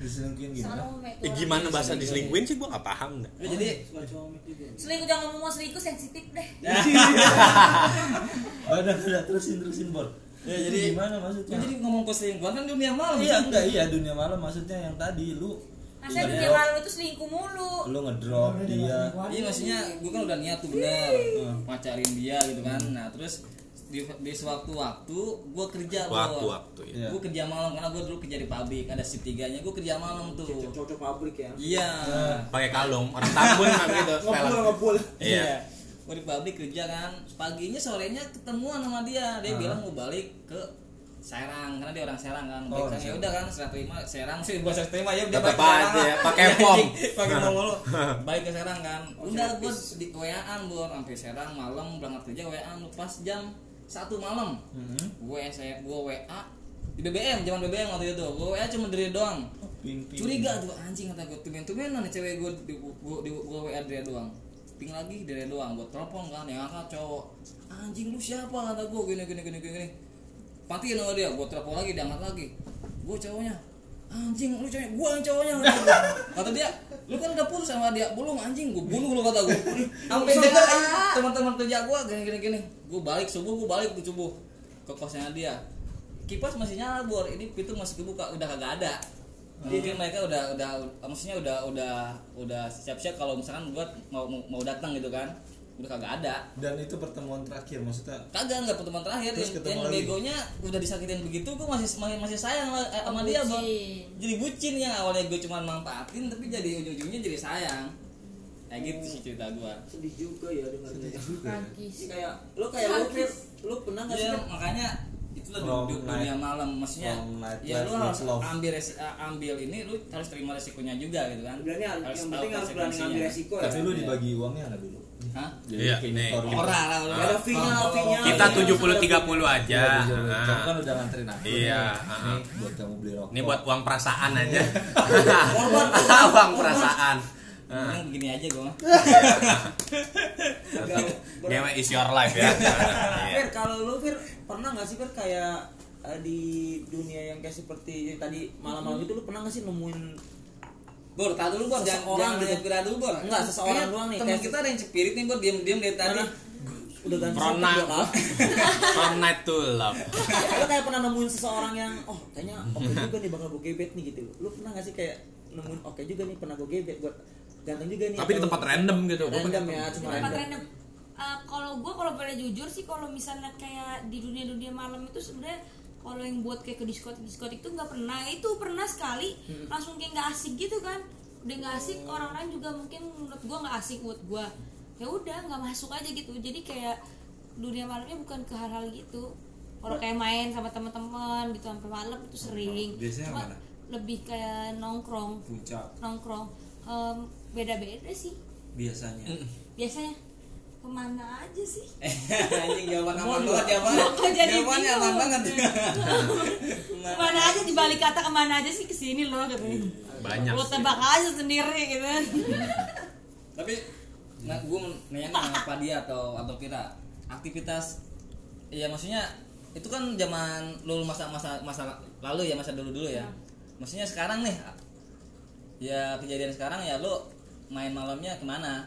Speaker 5: diselingkuhin gimana?
Speaker 2: Eh, gimana bahasa diselingkuin sih gua nggak paham dah.
Speaker 5: Iya. Oh,
Speaker 3: Ya, Jadi
Speaker 4: Suka gitu. comik juga.
Speaker 1: selingkuh jangan ngomong selingkuh sensitif deh
Speaker 2: Iya.
Speaker 5: Gak ada, gak ada. terusin terusin bol.
Speaker 3: Ya,
Speaker 5: Itu
Speaker 3: jadi-
Speaker 5: gimana
Speaker 3: gua
Speaker 5: maksudnya?
Speaker 3: jadi ngomong keselingkuhan kan dunia malam.
Speaker 5: iya enggak iya dunia malam maksudnya yang tadi lu
Speaker 1: masa
Speaker 5: lu
Speaker 2: Iya.
Speaker 1: dunia
Speaker 5: ngedrop,
Speaker 1: malam itu selingkuh mulu
Speaker 5: lu ngedrop dia.
Speaker 3: Iya maksudnya gue kan udah niat tuh bener
Speaker 5: Iya.
Speaker 3: pacarin dia gitu kan. Nah terus di, di sewaktu-waktu gue kerja Bor.
Speaker 2: Waktu-waktu ya.
Speaker 5: Iya.
Speaker 3: Gue kerja malam karena gue dulu kerja di pabrik ada shift tiganya gue kerja malam tuh.
Speaker 4: Cocok pabrik ya.
Speaker 3: Iya.
Speaker 2: Pakai kalung, orang tambun kan gitu.
Speaker 4: Ngebul
Speaker 2: style.
Speaker 4: ngebul.
Speaker 2: Iya.
Speaker 3: Gue di pabrik kerja kan. Paginya sorenya ketemuan sama dia. Dia bilang mau balik ke Serang karena dia orang Serang kan.
Speaker 5: Oh,
Speaker 3: Baik, Serang. ya
Speaker 5: Serang.
Speaker 3: udah kan serang terima Serang sih gua serang terima ya udah
Speaker 2: Tetep
Speaker 3: balik ke
Speaker 2: aja
Speaker 3: Serang
Speaker 2: ya,
Speaker 3: lah.
Speaker 2: pakai
Speaker 3: Iya,
Speaker 2: pom.
Speaker 3: pakai pom lu. Balik ke Serang kan.
Speaker 4: Oh,
Speaker 3: udah
Speaker 4: servis.
Speaker 3: gua di WA-an bor sampai Serang malam berangkat kerja WA-an lu pas jam satu malam.
Speaker 5: Mhm.
Speaker 3: Gue saya gue WA di BBM zaman BBM waktu itu gue WA cuma dari doang
Speaker 5: Ping, ping.
Speaker 3: curiga tuh anjing kata gue tumen tumenan nih cewek gue di gue di gue WA dia doang ping lagi dia doang gue telepon kan yang angkat cowok anjing lu siapa kata gue gini gini gini gini matiin sama dia gue telepon lagi diangkat lagi gue cowoknya anjing lu cowoknya gue yang cowoknya kata gua. kata dia lu kan udah putus sama dia belum anjing gue bunuh lu kata gue sampai dia teman-teman kerja gue gini gini gini gue balik subuh gue balik tuh subuh ke kosnya dia kipas masih nyala bor ini pintu masih kebuka udah kagak ada
Speaker 5: Hmm.
Speaker 3: jadi mereka udah udah maksudnya udah udah udah siap-siap kalau misalkan buat mau mau, mau datang gitu kan. Udah kagak ada.
Speaker 5: dan itu pertemuan terakhir maksudnya
Speaker 3: Kagak nggak pertemuan terakhir
Speaker 5: Terus
Speaker 3: yang,
Speaker 5: ketemu
Speaker 3: yang
Speaker 5: lagi.
Speaker 3: begonya udah disakitin begitu gue masih masih, masih sayang lah, eh, sama dia, Bang.
Speaker 1: Bucin.
Speaker 3: Jadi bucin yang awalnya gue cuma manfaatin tapi jadi ujung-ujungnya jadi sayang. Kayak gitu sih cerita gue.
Speaker 4: Sedih juga ya dengarnya. Ini
Speaker 1: Tragis.
Speaker 4: kayak lu kayak lu Fir, lu pernah enggak sih?
Speaker 3: Iya, makanya itulah
Speaker 5: From
Speaker 3: du- du- dunia
Speaker 5: night-
Speaker 3: malam maksudnya
Speaker 5: from night
Speaker 3: ya lu
Speaker 5: life
Speaker 3: harus
Speaker 5: with love.
Speaker 3: ambil resi- eh, ambil ini lu harus terima resikonya juga gitu kan
Speaker 4: Berani harus yang
Speaker 3: tahu
Speaker 4: penting harus berani
Speaker 3: konsekuensinya.
Speaker 4: ngambil resiko ya.
Speaker 5: tapi lu dibagi uangnya nggak dulu
Speaker 3: Hah?
Speaker 2: Iya,
Speaker 5: kayak
Speaker 2: nih.
Speaker 5: motor gitu.
Speaker 3: Orang lah,
Speaker 4: Gak ada fee-nya,
Speaker 5: Oh.
Speaker 4: fee-nya.
Speaker 2: Kita 70-30 aja.
Speaker 4: Iya.
Speaker 5: Iya, jujur. kamu kan
Speaker 2: Nah,
Speaker 5: udah nganterin aku
Speaker 2: Ya, Iya,
Speaker 5: nih.
Speaker 2: heeh.
Speaker 5: Nih, buat kamu beli rokok
Speaker 2: Ini buat uang perasaan aja.
Speaker 4: Korban, korban.
Speaker 2: Uang perasaan. Nah,
Speaker 3: Mending begini aja gue
Speaker 2: Ngewe is your life ya. Iya.
Speaker 4: Nah, Fir, kalau lu Fir pernah nggak sih Fir kayak eh, di dunia yang kayak seperti tadi
Speaker 3: Mm-hmm.
Speaker 4: malam-malam itu lu pernah nggak sih nemuin
Speaker 3: Bor, tahan dulu Bor, jangan
Speaker 4: Seseorang
Speaker 3: orang
Speaker 4: gitu.
Speaker 3: gitu dulu Bor
Speaker 4: Enggak, seseorang
Speaker 3: Kayaknya
Speaker 4: doang nih,
Speaker 3: Temen
Speaker 4: kayak-
Speaker 3: kita ada yang cepirit nih Bor, diam-diam dari tadi
Speaker 4: Mana? udah ganti
Speaker 2: Pernah.
Speaker 4: satu dua kali.
Speaker 2: From night to love.
Speaker 4: lu kayak pernah nemuin seseorang yang oh kayaknya oke juga nih bakal gue gebet nih gitu lu pernah nggak sih kayak nemuin oke juga nih pernah gue gebet buat ganteng juga nih
Speaker 2: Tapi di
Speaker 4: atau-
Speaker 2: tempat random gitu. gua
Speaker 4: random
Speaker 2: pengen-
Speaker 4: ya
Speaker 1: Di
Speaker 4: cuma
Speaker 1: tempat
Speaker 4: random
Speaker 1: random. Eh, kalau gue kalau boleh jujur sih kalau misalnya kayak di dunia dunia malam itu sebenarnya kalau yang buat kayak ke diskotik diskotik tuh nggak pernah itu pernah sekali
Speaker 5: Hmm.
Speaker 1: langsung kayak nggak asik gitu kan udah nggak asik
Speaker 5: Oh.
Speaker 1: orang lain juga mungkin menurut gue nggak asik buat gue ya udah nggak masuk aja gitu jadi kayak dunia malamnya bukan ke hal-hal gitu kalau
Speaker 5: Nah.
Speaker 1: kayak main sama teman-teman gitu sampai malam itu sering
Speaker 5: Biasanya
Speaker 1: Cuma
Speaker 5: mana?
Speaker 1: lebih kayak nongkrong
Speaker 5: puncak
Speaker 1: nongkrong Em, beda-beda sih
Speaker 5: biasanya
Speaker 1: biasanya kemana aja sih
Speaker 3: Anjing jawaban aman
Speaker 4: Bor,
Speaker 3: banget jawabannya
Speaker 1: kok jadi
Speaker 3: Jawabannya
Speaker 1: bingung?
Speaker 3: aman banget
Speaker 1: kemana aja dibalik kata kemana aja sih kesini loh katanya
Speaker 2: Banyak
Speaker 1: lo
Speaker 2: sih.
Speaker 1: tebak aja sendiri gitu
Speaker 3: Tapi nah, gue nanya apa dia atau atau kira aktivitas ya maksudnya itu kan zaman lu masa masa masa lalu ya masa dulu dulu ya maksudnya sekarang nih ya kejadian sekarang ya lu main malamnya kemana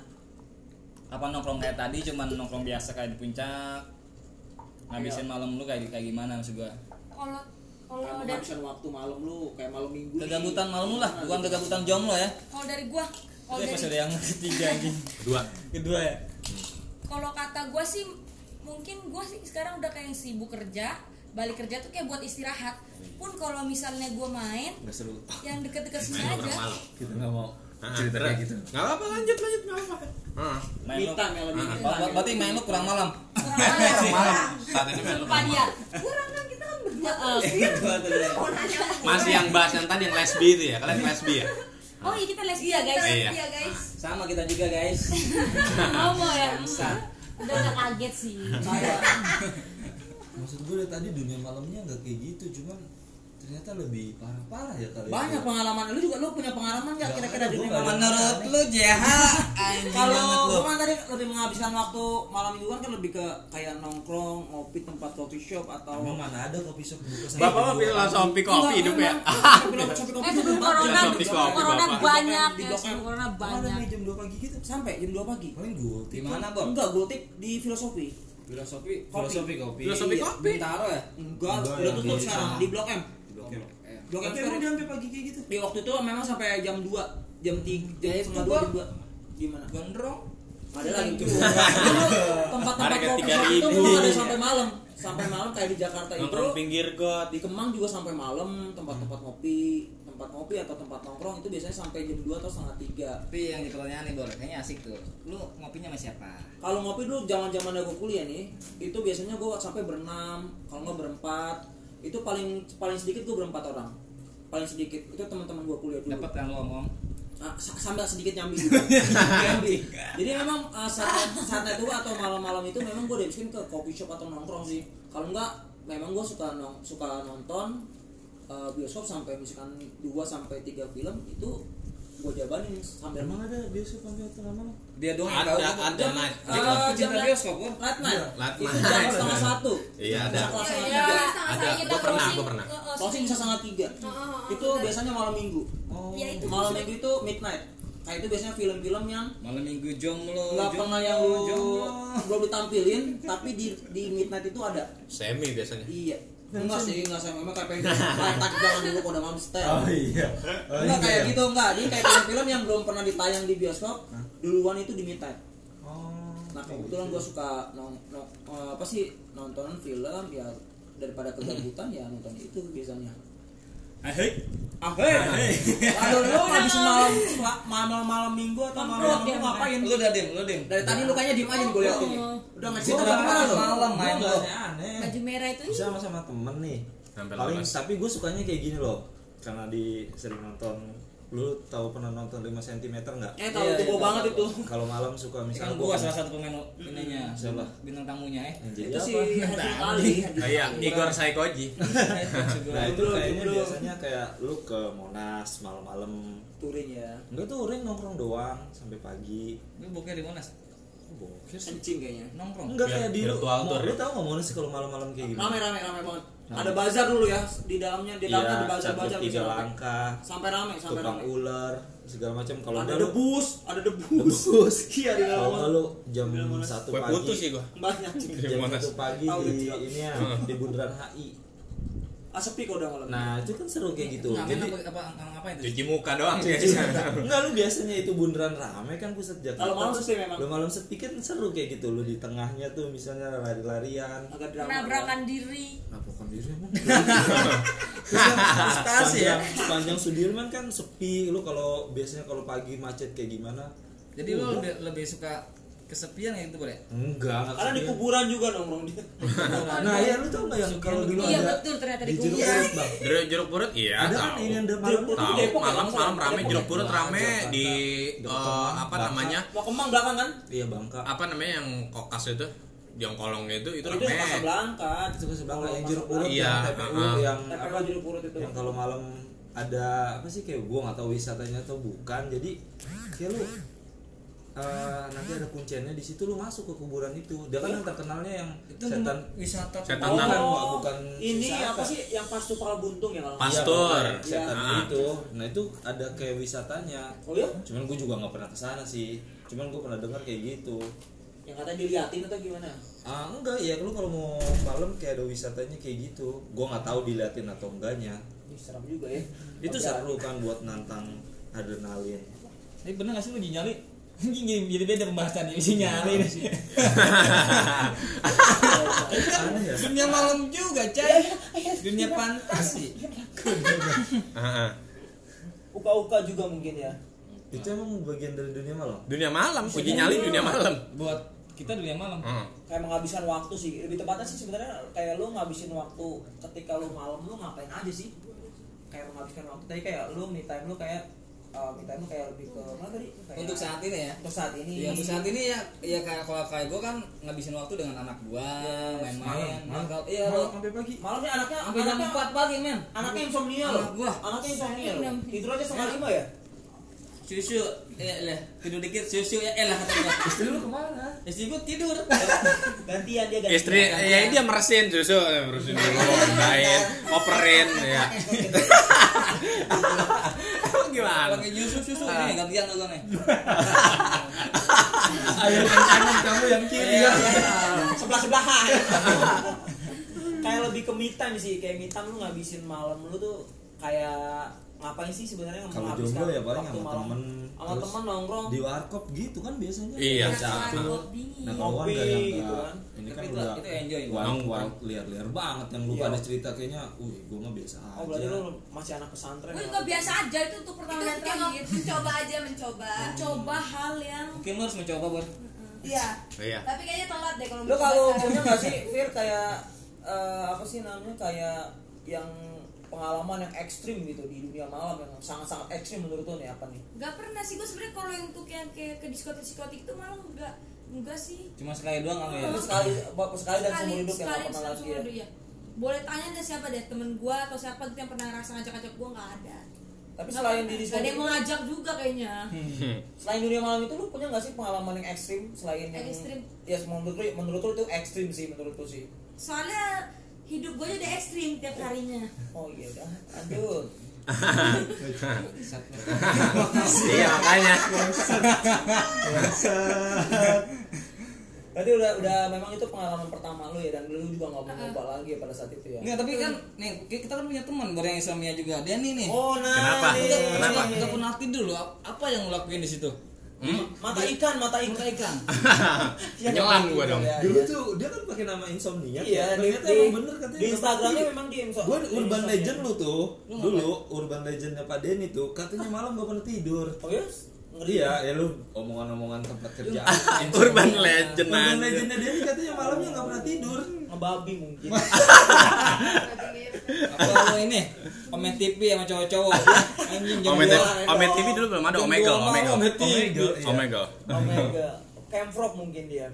Speaker 3: apa nongkrong kayak tadi cuman nongkrong biasa kayak di puncak ngabisin malam lu kayak kayak gimana maksud gua
Speaker 1: kalau kalau
Speaker 4: Kayak
Speaker 1: dari
Speaker 4: memakan waktu malam lu kayak malam minggu nih.
Speaker 3: kegabutan malam lu lah bukan kegabutan jomblo ya
Speaker 1: kalau dari gua kalau
Speaker 3: itu
Speaker 1: dari
Speaker 3: episode yang ketiga anjing
Speaker 2: Dua.
Speaker 3: kedua ya
Speaker 1: kalau kata gue sih mungkin gue sih sekarang udah kayak yang sibuk kerja balik kerja tuh kayak buat istirahat pun kalau misalnya gue main
Speaker 5: nggak seru
Speaker 1: yang deket-deket sini
Speaker 2: Main orang
Speaker 1: aja
Speaker 2: malam.
Speaker 5: kita nggak mau
Speaker 2: Ah,
Speaker 5: cerita kayak
Speaker 2: berat.
Speaker 5: gitu
Speaker 2: Nggak apa-apa lanjut lanjut nggak apa-apa. Ah.
Speaker 3: Main
Speaker 4: Me
Speaker 3: lu-
Speaker 4: time ya lebih me time.
Speaker 3: Ber- Berarti main lu kurang malam.
Speaker 1: kurang malam
Speaker 2: Saat ini main
Speaker 1: sumpah dia
Speaker 6: kurang kan kita kan berdua
Speaker 1: Heeh.
Speaker 6: mau nanya lagi.
Speaker 2: Masih yang bahas yang tadi yang lesbi itu ya. Kalian lesbi ya?
Speaker 1: oh iya kita lesbian
Speaker 6: iya guys
Speaker 2: Iya.
Speaker 6: iya guys
Speaker 3: Sama kita juga guys.
Speaker 1: homo ya
Speaker 3: Bisa.
Speaker 1: udah nggak kaget sih
Speaker 5: maksud gue dari tadi dunia malamnya nggak kayak gitu cuman ternyata lebih parah-parah ya kali
Speaker 4: Banyak
Speaker 5: itu.
Speaker 4: pengalaman lu juga lu punya pengalaman gak
Speaker 5: Nggak
Speaker 4: kira-kira
Speaker 5: ada,
Speaker 4: di
Speaker 5: gua
Speaker 4: dunia
Speaker 5: nggak
Speaker 4: malam?
Speaker 5: ada.
Speaker 3: Menurut lu JH anjing banget
Speaker 4: Kalau
Speaker 3: lu.
Speaker 4: gua kan tadi lebih menghabiskan waktu malam mingguan kan lebih ke kayak nongkrong, ngopi tempat coffee shop atau Iya, kan?
Speaker 5: Emang mana ada kopi shop buka sampai
Speaker 2: Bapak mau
Speaker 5: dua?
Speaker 2: filosofi kopi hidup ya.
Speaker 1: eh sebelum corona
Speaker 5: Iya,
Speaker 2: Kopi, kopi,
Speaker 1: corona
Speaker 2: bapak.
Speaker 1: banyak
Speaker 4: Di
Speaker 1: ya
Speaker 4: blok M.
Speaker 1: sebelum corona
Speaker 5: Ada
Speaker 1: banyak
Speaker 5: nih jam 2 pagi gitu
Speaker 4: sampai jam 2 pagi.
Speaker 5: paling gue
Speaker 3: Di mana, Bob?
Speaker 4: Enggak, gue tip di filosofi.
Speaker 3: Filosofi,
Speaker 4: Kopi.
Speaker 3: filosofi kopi.
Speaker 2: Filosofi
Speaker 3: Iya,
Speaker 2: kopi.
Speaker 3: Bintaro ya?
Speaker 4: Enggak,
Speaker 5: Enggak,
Speaker 4: udah
Speaker 5: ya,
Speaker 4: tutup
Speaker 5: di-
Speaker 4: sekarang di blok M.
Speaker 3: Eh.
Speaker 4: Blok M
Speaker 5: Tapi
Speaker 4: sekarang.
Speaker 5: emang dia sampai pagi kayak gitu
Speaker 4: Di waktu itu memang sampai jam 2, jam 3, jam
Speaker 3: Ya, itu
Speaker 4: setengah
Speaker 3: gua.
Speaker 4: 2, jam 2. Gimana?
Speaker 3: Gondrong.
Speaker 4: Ada lagi tuh. Tempat-tempat
Speaker 2: Harga
Speaker 4: kopi
Speaker 2: 3.000.
Speaker 4: itu belum ada sampai malam. Sampai malam kayak di Jakarta itu.
Speaker 2: Nongkrong pinggir got.
Speaker 4: Di Kemang juga sampai malam tempat-tempat kopi, tempat kopi atau tempat nongkrong itu biasanya sampai jam 2 atau setengah 3.
Speaker 3: Tapi yang dipertanyaan nih, Bor, kayaknya asik tuh. Lu ngopinya sama siapa?
Speaker 4: Kalau ngopi dulu zaman-zaman aku kuliah nih, itu biasanya gue sampai berenam, kalau nggak berempat. Itu paling paling sedikit gue berempat orang. Paling sedikit itu teman-teman gue kuliah dulu.
Speaker 3: Dapat yang lu omong.
Speaker 4: Ah, sa- sambil sedikit nyambi juga. nyambi. Jadi memang ah, saat saat itu atau malam-malam itu memang gue dihabisin ke coffee shop atau nongkrong sih. Kalau enggak memang gue suka nong suka nonton eh, bioskop sampai misalkan 2 sampai 3 film itu gue jabanin sambil
Speaker 5: emang ada biasa sampai tengah malam
Speaker 3: Dia doang yang
Speaker 2: Ada
Speaker 3: Iya, tahu.
Speaker 2: ada night.
Speaker 4: Eh, jam
Speaker 3: Cinta
Speaker 4: la-
Speaker 3: bioskop, Bor.
Speaker 4: Late night.
Speaker 2: Late
Speaker 4: Itu
Speaker 2: Iya, night.
Speaker 4: jam setengah satu.
Speaker 2: Iya, ada.
Speaker 4: Bisa kelas setengah
Speaker 1: Iya,
Speaker 4: tiga.
Speaker 6: Iya, sama-sama
Speaker 2: Ada.
Speaker 6: kita
Speaker 2: Gua pernah,
Speaker 6: closing
Speaker 2: gua pernah.
Speaker 6: ke- eh,
Speaker 4: Closing bisa setengah tiga.
Speaker 6: Oh, oh, oh,
Speaker 4: Itu
Speaker 6: betul.
Speaker 4: biasanya malam minggu.
Speaker 5: oh
Speaker 6: Ya, itu
Speaker 4: Malam
Speaker 6: maksudnya.
Speaker 4: minggu itu midnight. Nah itu biasanya film-film yang
Speaker 3: Malam Minggu jomblo.
Speaker 4: nggak
Speaker 3: jomblo,
Speaker 4: pernah yang lu
Speaker 3: jomblo.
Speaker 4: belum ditampilin tapi di di midnight itu ada
Speaker 2: Semi biasanya.
Speaker 4: iya enggak sih enggak saya memang kayak pengen pantak jangan dulu kode mam style
Speaker 5: oh iya oh,
Speaker 4: enggak
Speaker 5: iya.
Speaker 4: kayak gitu enggak ini kayak film-film yang belum pernah ditayang di bioskop
Speaker 5: Hah?
Speaker 4: duluan itu di midnight
Speaker 5: oh
Speaker 4: nah kebetulan gue suka nong, nong- eh, apa sih nonton film ya daripada kegabutan ya nonton itu biasanya
Speaker 3: Ahik.
Speaker 4: ah hei aduh lu habis malam malam malam minggu atau
Speaker 1: Nongkrong
Speaker 4: malam
Speaker 1: dia,
Speaker 4: minggu ngapain
Speaker 3: Lu udah dim, lu dim.
Speaker 4: dari tadi lu kayaknya diem aja gue liatin udah ngasih
Speaker 5: Oh, Gua
Speaker 4: terang
Speaker 5: nggak
Speaker 4: mana lu
Speaker 5: malam main
Speaker 3: Gua
Speaker 5: lo
Speaker 3: nggak
Speaker 5: aneh
Speaker 1: baju merah itu
Speaker 5: bisa sama sama temen nih
Speaker 2: Sampai
Speaker 5: paling
Speaker 2: lepas.
Speaker 5: tapi gue sukanya kayak gini loh karena di sering nonton lu tahu pernah nonton 5 cm nggak
Speaker 4: Eh tahu
Speaker 3: Iya,
Speaker 4: tuh
Speaker 3: iya,
Speaker 4: bau
Speaker 3: tahu,
Speaker 4: banget itu.
Speaker 3: tahu.
Speaker 5: kalau malam suka
Speaker 3: Ini kan
Speaker 5: misalnya
Speaker 3: gua
Speaker 5: gua-
Speaker 3: salah satu pemain ininya.
Speaker 5: Siapa?
Speaker 3: Bintang tamunya ya.
Speaker 5: Yang jadi
Speaker 4: Itu
Speaker 5: apa?
Speaker 4: sih Hadi Ali.
Speaker 2: Ah, Iya, Igor Saikoji.
Speaker 5: nah itu
Speaker 4: Jomblo,
Speaker 5: kayaknya
Speaker 4: jomblo.
Speaker 5: biasanya kayak lu ke Monas malam-malam
Speaker 4: Turin ya.
Speaker 5: enggak tuh orang nongkrong doang sampai pagi
Speaker 3: Lu bokeh di Monas?
Speaker 5: Oh, bokeh sih.
Speaker 4: Kencing kayaknya.
Speaker 3: Nongkrong.
Speaker 5: enggak
Speaker 2: Biar-
Speaker 5: kayak di
Speaker 2: biar
Speaker 5: lu
Speaker 2: tua
Speaker 5: mau-
Speaker 2: outdoor
Speaker 5: lu
Speaker 2: ya.
Speaker 5: tahu nggak Monas kalau malam-malam kayak gini
Speaker 4: Rame rame rame banget.
Speaker 5: Rame.
Speaker 4: Ada bazar dulu ya di dalamnya, di
Speaker 5: iya
Speaker 4: dalamnya ada bazar
Speaker 5: satu
Speaker 4: bazar
Speaker 5: tiga
Speaker 4: bisa rame.
Speaker 5: langkah
Speaker 4: Sampai rame, sampai
Speaker 5: tukang
Speaker 4: rame.
Speaker 5: ular segala macam kalau
Speaker 4: Ada
Speaker 5: enggak lu-
Speaker 4: debus, ada debus.
Speaker 5: debus
Speaker 4: Iya di
Speaker 5: kalau enggak
Speaker 4: dalam.
Speaker 5: lu jam
Speaker 4: Monas.
Speaker 5: satu
Speaker 2: Gue
Speaker 5: pagi
Speaker 2: putus sih gua.
Speaker 4: Banyak.
Speaker 5: jam
Speaker 2: Monas.
Speaker 5: satu pagi
Speaker 4: Tahu
Speaker 5: di
Speaker 4: gak?
Speaker 5: ini ya di bundaran HI
Speaker 4: Asepi Ah, kok udah malam.
Speaker 5: nah itu kan
Speaker 3: Iya,
Speaker 5: seru kayak gitu
Speaker 4: Nah,
Speaker 3: Ngamen
Speaker 5: jadi
Speaker 3: apa apa apa itu?
Speaker 2: Cuci muka doang biasanya.
Speaker 5: Enggak lu biasanya itu bundaran rame kan pusat Jakarta.
Speaker 4: Kalau malam sepi memang.
Speaker 5: Lu malam sepi kan seru kayak gitu lu di tengahnya tuh misalnya lari-larian.
Speaker 4: Agak drama.
Speaker 1: penabrakan diri
Speaker 5: Kenapa kondisi emang? kan
Speaker 3: Frustasi ya.
Speaker 5: sepanjang, sepanjang Sudirman kan sepi. Lu kalau biasanya kalau pagi macet kayak gimana?
Speaker 3: Jadi lu lebih, lebih suka kesepian gitu boleh?
Speaker 5: Enggak, enggak
Speaker 4: Karena di
Speaker 5: kesepian.
Speaker 4: kuburan juga nongkrong dia.
Speaker 5: Nah, ya lu tau gak yang kalau dulu
Speaker 4: gitu.
Speaker 1: iya
Speaker 5: ada
Speaker 1: betul ternyata di
Speaker 5: di jeruk
Speaker 1: Google.
Speaker 5: purut, Bang.
Speaker 2: Jeruk jeruk purut iya
Speaker 5: Ada kan
Speaker 2: tahu.
Speaker 5: ini yang ada malam
Speaker 4: Jeruk
Speaker 5: tuh.
Speaker 4: purut.
Speaker 2: Tahu
Speaker 4: Depok ya,
Speaker 2: malam
Speaker 4: maksudnya?
Speaker 2: malam rame
Speaker 4: Depok
Speaker 2: jeruk purut
Speaker 5: ya?
Speaker 2: rame di
Speaker 5: Jakarta.
Speaker 2: eh, apa
Speaker 5: Bangka.
Speaker 2: namanya?
Speaker 4: Mau kemang belakang kan?
Speaker 5: Iya, Bangka.
Speaker 2: Apa namanya yang kokas itu? Yang kolongnya itu itu
Speaker 4: Itu
Speaker 2: rame.
Speaker 4: masa belangkat.
Speaker 5: Itu ke sebelah yang jeruk purut ya,
Speaker 2: Iya,
Speaker 5: yang TPU
Speaker 2: heeh.
Speaker 5: yang
Speaker 4: Apa
Speaker 5: apa
Speaker 4: ya, jeruk purut itu?
Speaker 5: yang kalau malam ada apa sih kayak gua nggak tahu wisatanya atau bukan jadi kayak lu eh, nanti ada kunciannya di situ lu masuk ke kuburan itu dia kan yang terkenalnya yang
Speaker 3: Itu
Speaker 5: setan
Speaker 3: wisata
Speaker 2: Setan
Speaker 5: bukan
Speaker 2: tanah.
Speaker 5: bukan, Iya, bukan
Speaker 4: Oh, ini
Speaker 5: wisata.
Speaker 4: apa sih yang pas tupal buntung ya kalau?
Speaker 2: Pas.
Speaker 5: Iya,
Speaker 2: Pastor.
Speaker 5: bukan setan
Speaker 2: Iya.
Speaker 5: itu nah itu ada kayak wisatanya
Speaker 4: Oh iya?
Speaker 5: cuman gua juga nggak pernah kesana sih cuman gua pernah dengar kayak gitu
Speaker 4: Yang katanya diliatin atau gimana?
Speaker 5: ah enggak ya lu kalau mau malam kayak ada wisatanya kayak gitu gua nggak tahu diliatin atau enggaknya
Speaker 4: Ih, Serem juga ya.
Speaker 5: itu
Speaker 4: Tapi ya,
Speaker 5: seru kan buat nantang adrenalin
Speaker 3: Ini bener gak sih lu nyali? Ini jadi beda pembahasan ini isinya hari ini. Ini kan
Speaker 5: Aneh ya?
Speaker 3: dunia malam juga, Cai. Dunia fantasi.
Speaker 2: Ah, ah.
Speaker 4: Uka-uka juga mungkin ya.
Speaker 5: Itu emang bagian dari dunia malam.
Speaker 2: dunia malam uji nyali dunia malam
Speaker 3: Buat kita dunia malam.
Speaker 2: Ah.
Speaker 4: Kayak menghabiskan waktu sih. Lebih tepatnya sih sebenarnya kayak lu ngabisin waktu ketika lu malam lu ngapain aja sih? Kayak menghabiskan waktu. Tadi kayak lu me time lu kayak eh me time lu kayak lebih ke mana tadi? Kayak-
Speaker 3: Untuk saat ini ya.
Speaker 4: untuk saat ini.
Speaker 3: Ya untuk saat ini ya ya kayak kalau kayak gue kan ngabisin waktu dengan anak gua main-main.
Speaker 5: malam.
Speaker 3: Kalau- Iya
Speaker 5: Malam
Speaker 3: lo
Speaker 5: sampai pagi.
Speaker 4: Malamnya anaknya
Speaker 3: Iya. sampai jam Iya, 4
Speaker 4: anaknya-
Speaker 3: pagi men.
Speaker 4: Anaknya insomnia
Speaker 3: Anak
Speaker 4: loh.
Speaker 3: gua.
Speaker 4: Anaknya insomnia loh.
Speaker 1: Enam.
Speaker 4: Tidur aja setengah lima ya?
Speaker 3: Susu, ya lah tidur dikit susu ya eh lah kata gua.
Speaker 5: Istri lu kemana?
Speaker 3: Istri gua tidur.
Speaker 4: Gantian dia gantian.
Speaker 2: istri ya dia meresin susu eh, meresin dulu kain operin ya Emang gimana
Speaker 3: Pakai susu susu nih gantian lo nih.
Speaker 5: Ayo yang kanan kamu yang kiri
Speaker 4: Iya.
Speaker 5: ya.
Speaker 4: sebelah sebelahan kayak lebih ke me time sih kayak me time lu ngabisin malam lu tuh kayak ngapain sih sebenarnya
Speaker 5: Kalau jomblo
Speaker 4: menghabiskan
Speaker 5: ya paling
Speaker 4: waktu
Speaker 5: sama
Speaker 4: malam?
Speaker 5: temen,
Speaker 4: sama
Speaker 5: terus
Speaker 4: temen nongkrong
Speaker 5: Di warkop gitu kan biasanya.
Speaker 2: Iya.
Speaker 5: Cakep. Nah kalau
Speaker 4: Ngopi
Speaker 5: Wan gak nyangka.
Speaker 4: gitu kan.
Speaker 5: Ini kan
Speaker 3: Tapi itu-
Speaker 5: udah
Speaker 3: itu enjoy, Bang.
Speaker 5: wild, wild, liar-liar banget yang lu
Speaker 4: Iya.
Speaker 5: pada cerita kayaknya, uh gue mah biasa aja.
Speaker 4: oh berarti lu masih anak pesantren
Speaker 1: Gue
Speaker 4: ya?
Speaker 1: juga biasa aja itu untuk pertama
Speaker 6: itu
Speaker 1: dan
Speaker 6: cuma
Speaker 1: terakhir.
Speaker 6: mencoba aja mencoba
Speaker 1: Coba hal yang
Speaker 3: Mungkin lo harus mencoba buat
Speaker 6: iya
Speaker 2: iya
Speaker 6: tapi kayaknya telat deh kalau
Speaker 4: lu
Speaker 6: mencoba
Speaker 4: kalau
Speaker 6: sekarang.
Speaker 4: punya nggak sih Fir kayak eh, apa sih namanya kayak yang pengalaman yang ekstrim gitu di dunia malam yang sangat-sangat ekstrim menurut lu nih apa nih
Speaker 1: Gak pernah sih gue sebenarnya kalau yang untuk yang kayak ke diskotik diskotik itu malah enggak enggak sih.
Speaker 3: cuma sekali doang apa ya.
Speaker 4: lu sekali sekali dan seumur hidup yang nggak
Speaker 1: sekali
Speaker 4: pernah lagi
Speaker 1: seumur
Speaker 4: ya
Speaker 1: hidup, iya. Boleh tanya deh siapa deh temen gue atau siapa gitu yang pernah ngerasa ngajak-ngajak gue nggak ada.
Speaker 4: tapi
Speaker 1: Nggak
Speaker 4: selain Hmm.
Speaker 1: pernah.
Speaker 4: di
Speaker 1: Nggak ada
Speaker 4: diskotik
Speaker 1: yang mau ngajak juga kayaknya.
Speaker 4: Selain dunia malam itu lu punya nggak sih pengalaman yang ekstrim selain yang
Speaker 1: Ekstrim.
Speaker 4: Ya menurut lu menurut lu itu ekstrim sih menurut lu sih.
Speaker 1: Soalnya hidup gue udah ekstrim tiap harinya.
Speaker 4: Oh iya dah, lanjut.
Speaker 2: iya makanya
Speaker 4: Berarti udah udah memang itu pengalaman pertama lu ya dan lu juga nggak mau coba lagi ya pada saat itu ya.
Speaker 3: Nggak, tapi kan nih kita kan punya teman bareng Islamia juga. Dia nih nih.
Speaker 4: Oh nah.
Speaker 2: Kenapa?
Speaker 4: nih.
Speaker 3: Nggak-
Speaker 2: Kenapa?
Speaker 3: nggak- nggak pernah tidur lo. Apa yang lo lakuin di situ?
Speaker 4: Mata ikan, mata ikan. Iya,
Speaker 3: Mata ikan.
Speaker 2: Iya. nyelam gue dong
Speaker 4: Ya,
Speaker 5: Dulu tuh dia kan pakai nama insomnia.
Speaker 4: Iya,
Speaker 5: ya.
Speaker 4: di,
Speaker 5: ternyata
Speaker 4: di,
Speaker 5: emang bener katanya. Iya.
Speaker 4: di Instagramnya memang Iya, di Insta-
Speaker 5: Gue
Speaker 4: di
Speaker 5: urban
Speaker 4: Instagram.
Speaker 5: legend lu tuh dulu urban legendnya Pak Denny tuh katanya malam gak pernah tidur.
Speaker 4: Oh iya? Ngeri
Speaker 5: Ngeri ya, ya lu omongan-omongan tempat kerja.
Speaker 2: urban legend
Speaker 5: urban
Speaker 2: aja.
Speaker 5: legendnya Denny katanya malamnya gak pernah tidur.
Speaker 4: Ngebabi mungkin.
Speaker 3: Apa lo ini? Komen TV sama cowok-cowok. Anjing jam
Speaker 2: Omet
Speaker 3: dua.
Speaker 2: Omet TV dulu belum ada
Speaker 3: Jam
Speaker 2: Omegle,
Speaker 3: dua malam,
Speaker 2: Omegle.
Speaker 3: Omet TV.
Speaker 2: Omegle.
Speaker 4: Omega. Camfrog mungkin dia.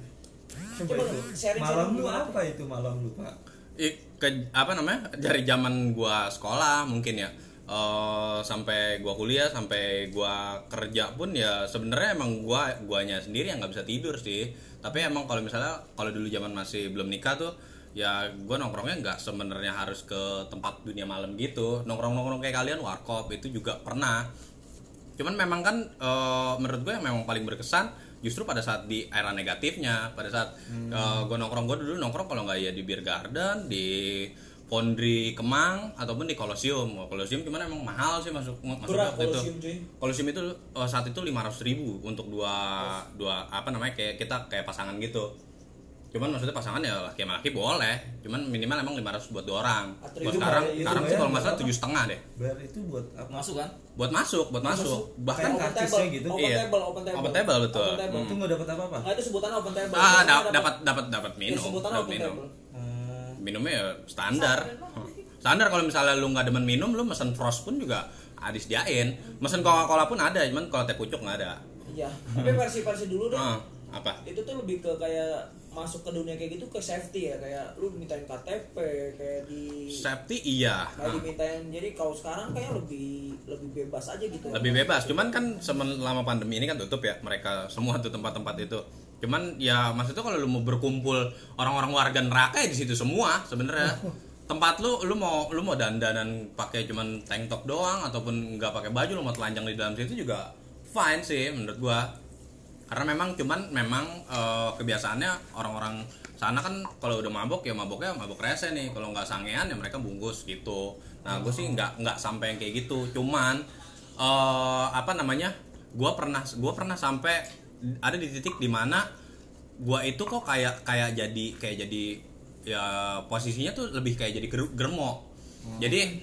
Speaker 4: Coba
Speaker 5: itu.
Speaker 4: sharing-sharing
Speaker 5: Malam lu
Speaker 4: gimana?
Speaker 5: apa itu malam lu pak?
Speaker 2: Ih, ke apa namanya? Dari zaman gua sekolah mungkin ya. Eh, sampai gua kuliah, sampai gua kerja pun ya sebenarnya emang gua guanya sendiri yang nggak bisa tidur sih. Tapi emang kalau misalnya kalau dulu zaman masih belum nikah tuh ya gua nongkrongnya nggak sebenarnya harus ke tempat dunia malam gitu. Nongkrong-nongkrong kayak kalian warkop itu juga pernah. Cuman memang kan eh, menurut gue yang memang paling berkesan justru pada saat di era negatifnya, pada saat eh, gue nongkrong gue dulu nongkrong kalau nggak ya di beer garden, di Pondri Kemang ataupun di Kolosium. Wah, Kolosium cuman emang mahal sih masuk masuk
Speaker 4: Berat
Speaker 2: waktu
Speaker 4: Kolosium,
Speaker 2: itu.
Speaker 4: cuy.
Speaker 2: Kolosium itu eh, saat itu 500.000 ribu untuk dua dua apa namanya kayak kita kayak pasangan gitu. Cuman maksudnya pasangan ya laki sama laki boleh, cuman minimal emang 500 buat dua orang.
Speaker 4: Atau
Speaker 2: Buat
Speaker 4: itu
Speaker 2: sekarang
Speaker 5: bayar- itu
Speaker 2: sekarang sih
Speaker 5: bayar
Speaker 2: kalau nggak salah
Speaker 5: berapa?
Speaker 2: tujuh setengah deh.
Speaker 5: Bayar itu buat apa?
Speaker 3: Masuk kan?
Speaker 2: Buat masuk, buat masuk. Bahkan
Speaker 5: Kayak
Speaker 4: open
Speaker 5: kartusnya
Speaker 4: table,
Speaker 5: gitu.
Speaker 4: open
Speaker 2: Iya.
Speaker 4: table, open table,
Speaker 2: Open table, betul. Hmm.
Speaker 4: Open table.
Speaker 5: Itu nggak dapat apa-apa?
Speaker 4: Nah, itu sebutannya open table.
Speaker 2: Ah,
Speaker 4: Biasanya
Speaker 2: dapat dapat dapat dapat
Speaker 4: ya,
Speaker 2: minum,
Speaker 4: sebutannya
Speaker 2: dapat
Speaker 4: open
Speaker 2: minum.
Speaker 4: table.
Speaker 5: Hmm.
Speaker 2: Minumnya ya standar. Hmm. Standar kalau misalnya lu nggak demen minum, lu mesen frost pun juga adis jain. Mesen Coca-Cola pun ada, cuman kalau teh pucuk nggak ada.
Speaker 4: Iya. Tapi versi-versi dulu deh.
Speaker 2: Hmm. Ah, apa?
Speaker 4: Itu tuh lebih ke kayak masuk ke dunia kayak gitu ke safety ya, kayak lu dimintain KTP, kayak di
Speaker 2: Safety iya.
Speaker 4: kayak
Speaker 2: Ah.
Speaker 4: dimintain. Jadi kalau sekarang kayak lebih lebih bebas aja gitu.
Speaker 2: lebih bebas cuman kan selama pandemi ini kan tutup ya mereka semua tuh tempat-tempat itu cuman ya maksudnya kalau lu mau berkumpul orang-orang warga neraka ya di situ semua sebenarnya tempat lu lu mau lu mau dandanan pakai cuman tank top doang ataupun nggak pakai baju lu mau telanjang di dalam situ juga fine sih menurut gua karena memang cuman memang eh, kebiasaannya orang-orang sana kan kalau udah mabok ya maboknya mabok rese nih kalau nggak sangean ya mereka bungkus gitu nah gue sih nggak nggak sampai yang kayak gitu cuman eh apa namanya gue pernah gue pernah sampai ada di titik dimana gua itu kok kayak kayak jadi kayak jadi ya posisinya tuh lebih kayak jadi ger- germo jadi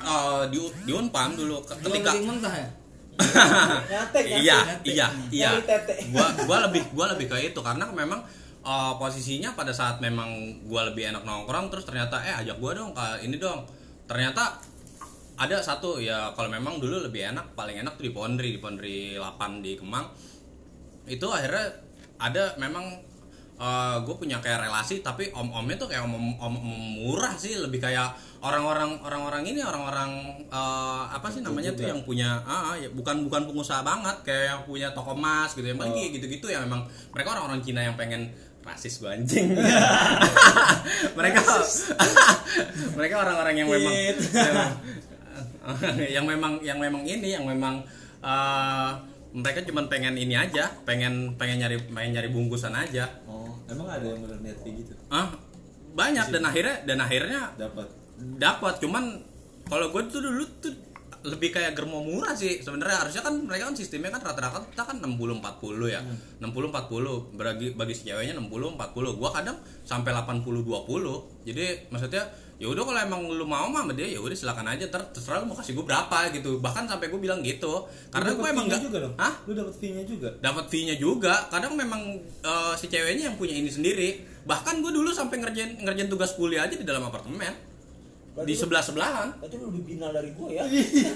Speaker 2: eh, di diunpam dulu ke- ketika
Speaker 3: Jual mentah ya
Speaker 4: nyatek nyatek.
Speaker 2: iya
Speaker 3: nyatek.
Speaker 2: iya iya
Speaker 4: kan? Nyari tete.
Speaker 2: gua gua lebih gua lebih ke itu karena memang uh, posisinya pada saat memang gua lebih enak nongkrong terus ternyata eh ajak gua dong ke ini dong ternyata ada satu ya kalau memang dulu lebih enak paling enak tuh di Pondri di Pondri 8 di Kemang itu akhirnya ada memang gue punya kayak relasi tapi om-omnya tuh kayak om, om, om- om murah sih lebih kayak orang-orang orang-orang ini orang-orang eh, apa sih namanya tuh yang punya ah, ah, ya, bukan bukan pengusaha banget kayak yang punya toko emas gitu yang paling kayak gitu-gitu yang memang mereka orang-orang Cina yang pengen rasis gue anjing mereka mereka orang-orang yang memang yang memang yang memang ini yang memang eh, mereka cuma pengen ini aja pengen pengen nyari pengen nyari bungkusan aja
Speaker 5: oh emang ada yang bener niat kayak gitu
Speaker 2: ah banyak dan akhirnya dan akhirnya
Speaker 5: dapat
Speaker 2: dapat cuman kalau gue tuh dulu tuh lebih kayak germo murah sih sebenarnya harusnya kan mereka kan sistemnya kan rata-rata kita kan 60 40 ya. 60 40 bagi bagi si ceweknya 60 40. Gua kadang sampai 80 20. Jadi maksudnya ya udah kalau emang lu mau mah sama dia ya udah silakan aja ter terserah lu mau kasih gue berapa gitu. Bahkan sampai gue bilang gitu. Karena gue emang enggak
Speaker 5: juga dong
Speaker 2: Hah?
Speaker 5: lu dapat fee nya juga
Speaker 2: dapat fee-nya juga kadang memang eh, si ceweknya yang punya ini sendiri bahkan gue dulu sampai ngerjain ngerjain tugas kuliah aja di dalam apartemen di sebelah sebelahan
Speaker 4: Berarti lu lebih binal dari gua ya.
Speaker 2: Iya.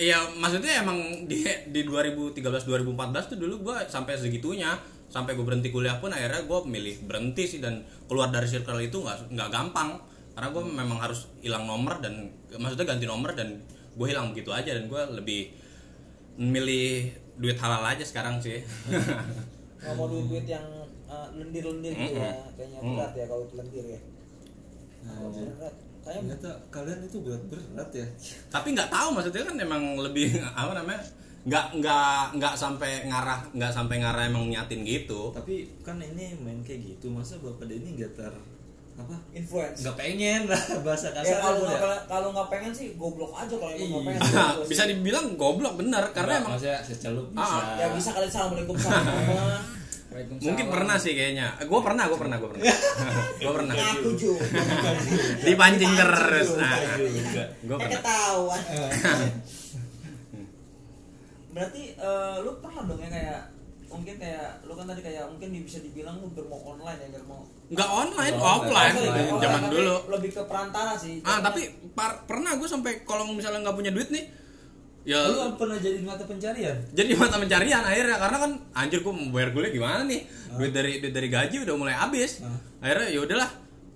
Speaker 2: ya maksudnya emang di di 2013 2014 tuh dulu gue sampai segitunya sampai gue berhenti kuliah pun akhirnya gue milih berhenti sih dan keluar dari circle itu nggak nggak gampang karena gue memang harus hilang nomor dan maksudnya ganti nomor dan gue hilang begitu aja dan gue lebih milih duit halal aja sekarang sih
Speaker 4: Nggak mau duit-duit yang eh, lendir-lendir gitu ya. Kayaknya berat ya kalau lendir ya. Kalau berat kayaknya
Speaker 5: ternyata kalian itu berat berat ya
Speaker 2: tapi nggak tahu maksudnya kan emang lebih apa namanya nggak nggak nggak sampai ngarah nggak sampai ngarah emang niatin gitu
Speaker 5: tapi kan ini main kayak gitu masa bapak Denny nggak ter apa
Speaker 4: influence.
Speaker 5: nggak pengen lah bahasa kasar
Speaker 4: Ya kalau
Speaker 5: lu
Speaker 4: nggak
Speaker 5: ya.
Speaker 4: pengen- kalau nggak pengen sih goblok aja kalau emang nggak pengen.
Speaker 2: Iya, bisa dibilang goblok bener karena emang
Speaker 3: maksudnya secelup
Speaker 2: Ah,
Speaker 3: bisa
Speaker 4: Ya bisa kalian assalamualaikum sama.
Speaker 3: Waalaikumsalam.
Speaker 2: mungkin pernah sih kayaknya gue pernah gue pernah gue pernah gue pernah
Speaker 4: Aku juga.
Speaker 2: dipancing terus nah, gue
Speaker 5: juga
Speaker 4: Eh
Speaker 2: pernah
Speaker 4: ketahuan. Berarti eh, lu pernah dong ya kayak mungkin kayak lu kan tadi kayak mungkin di- bisa dibilang lu germo online ya germo
Speaker 2: nggak online
Speaker 5: Nggak
Speaker 2: offline
Speaker 4: Sorry,
Speaker 5: offline.
Speaker 2: zaman
Speaker 4: germo online, tapi
Speaker 2: dulu
Speaker 4: lebih ke perantara sih
Speaker 2: ah tapi par- pernah gue sampai kalau misalnya nggak punya duit nih ya
Speaker 5: lu pernah jadi mata pencarian
Speaker 2: jadi mata pencarian akhirnya karena kan anjir gue mau bayar kuliah gimana nih duit dari duit dari gaji udah mulai habis akhirnya ya udahlah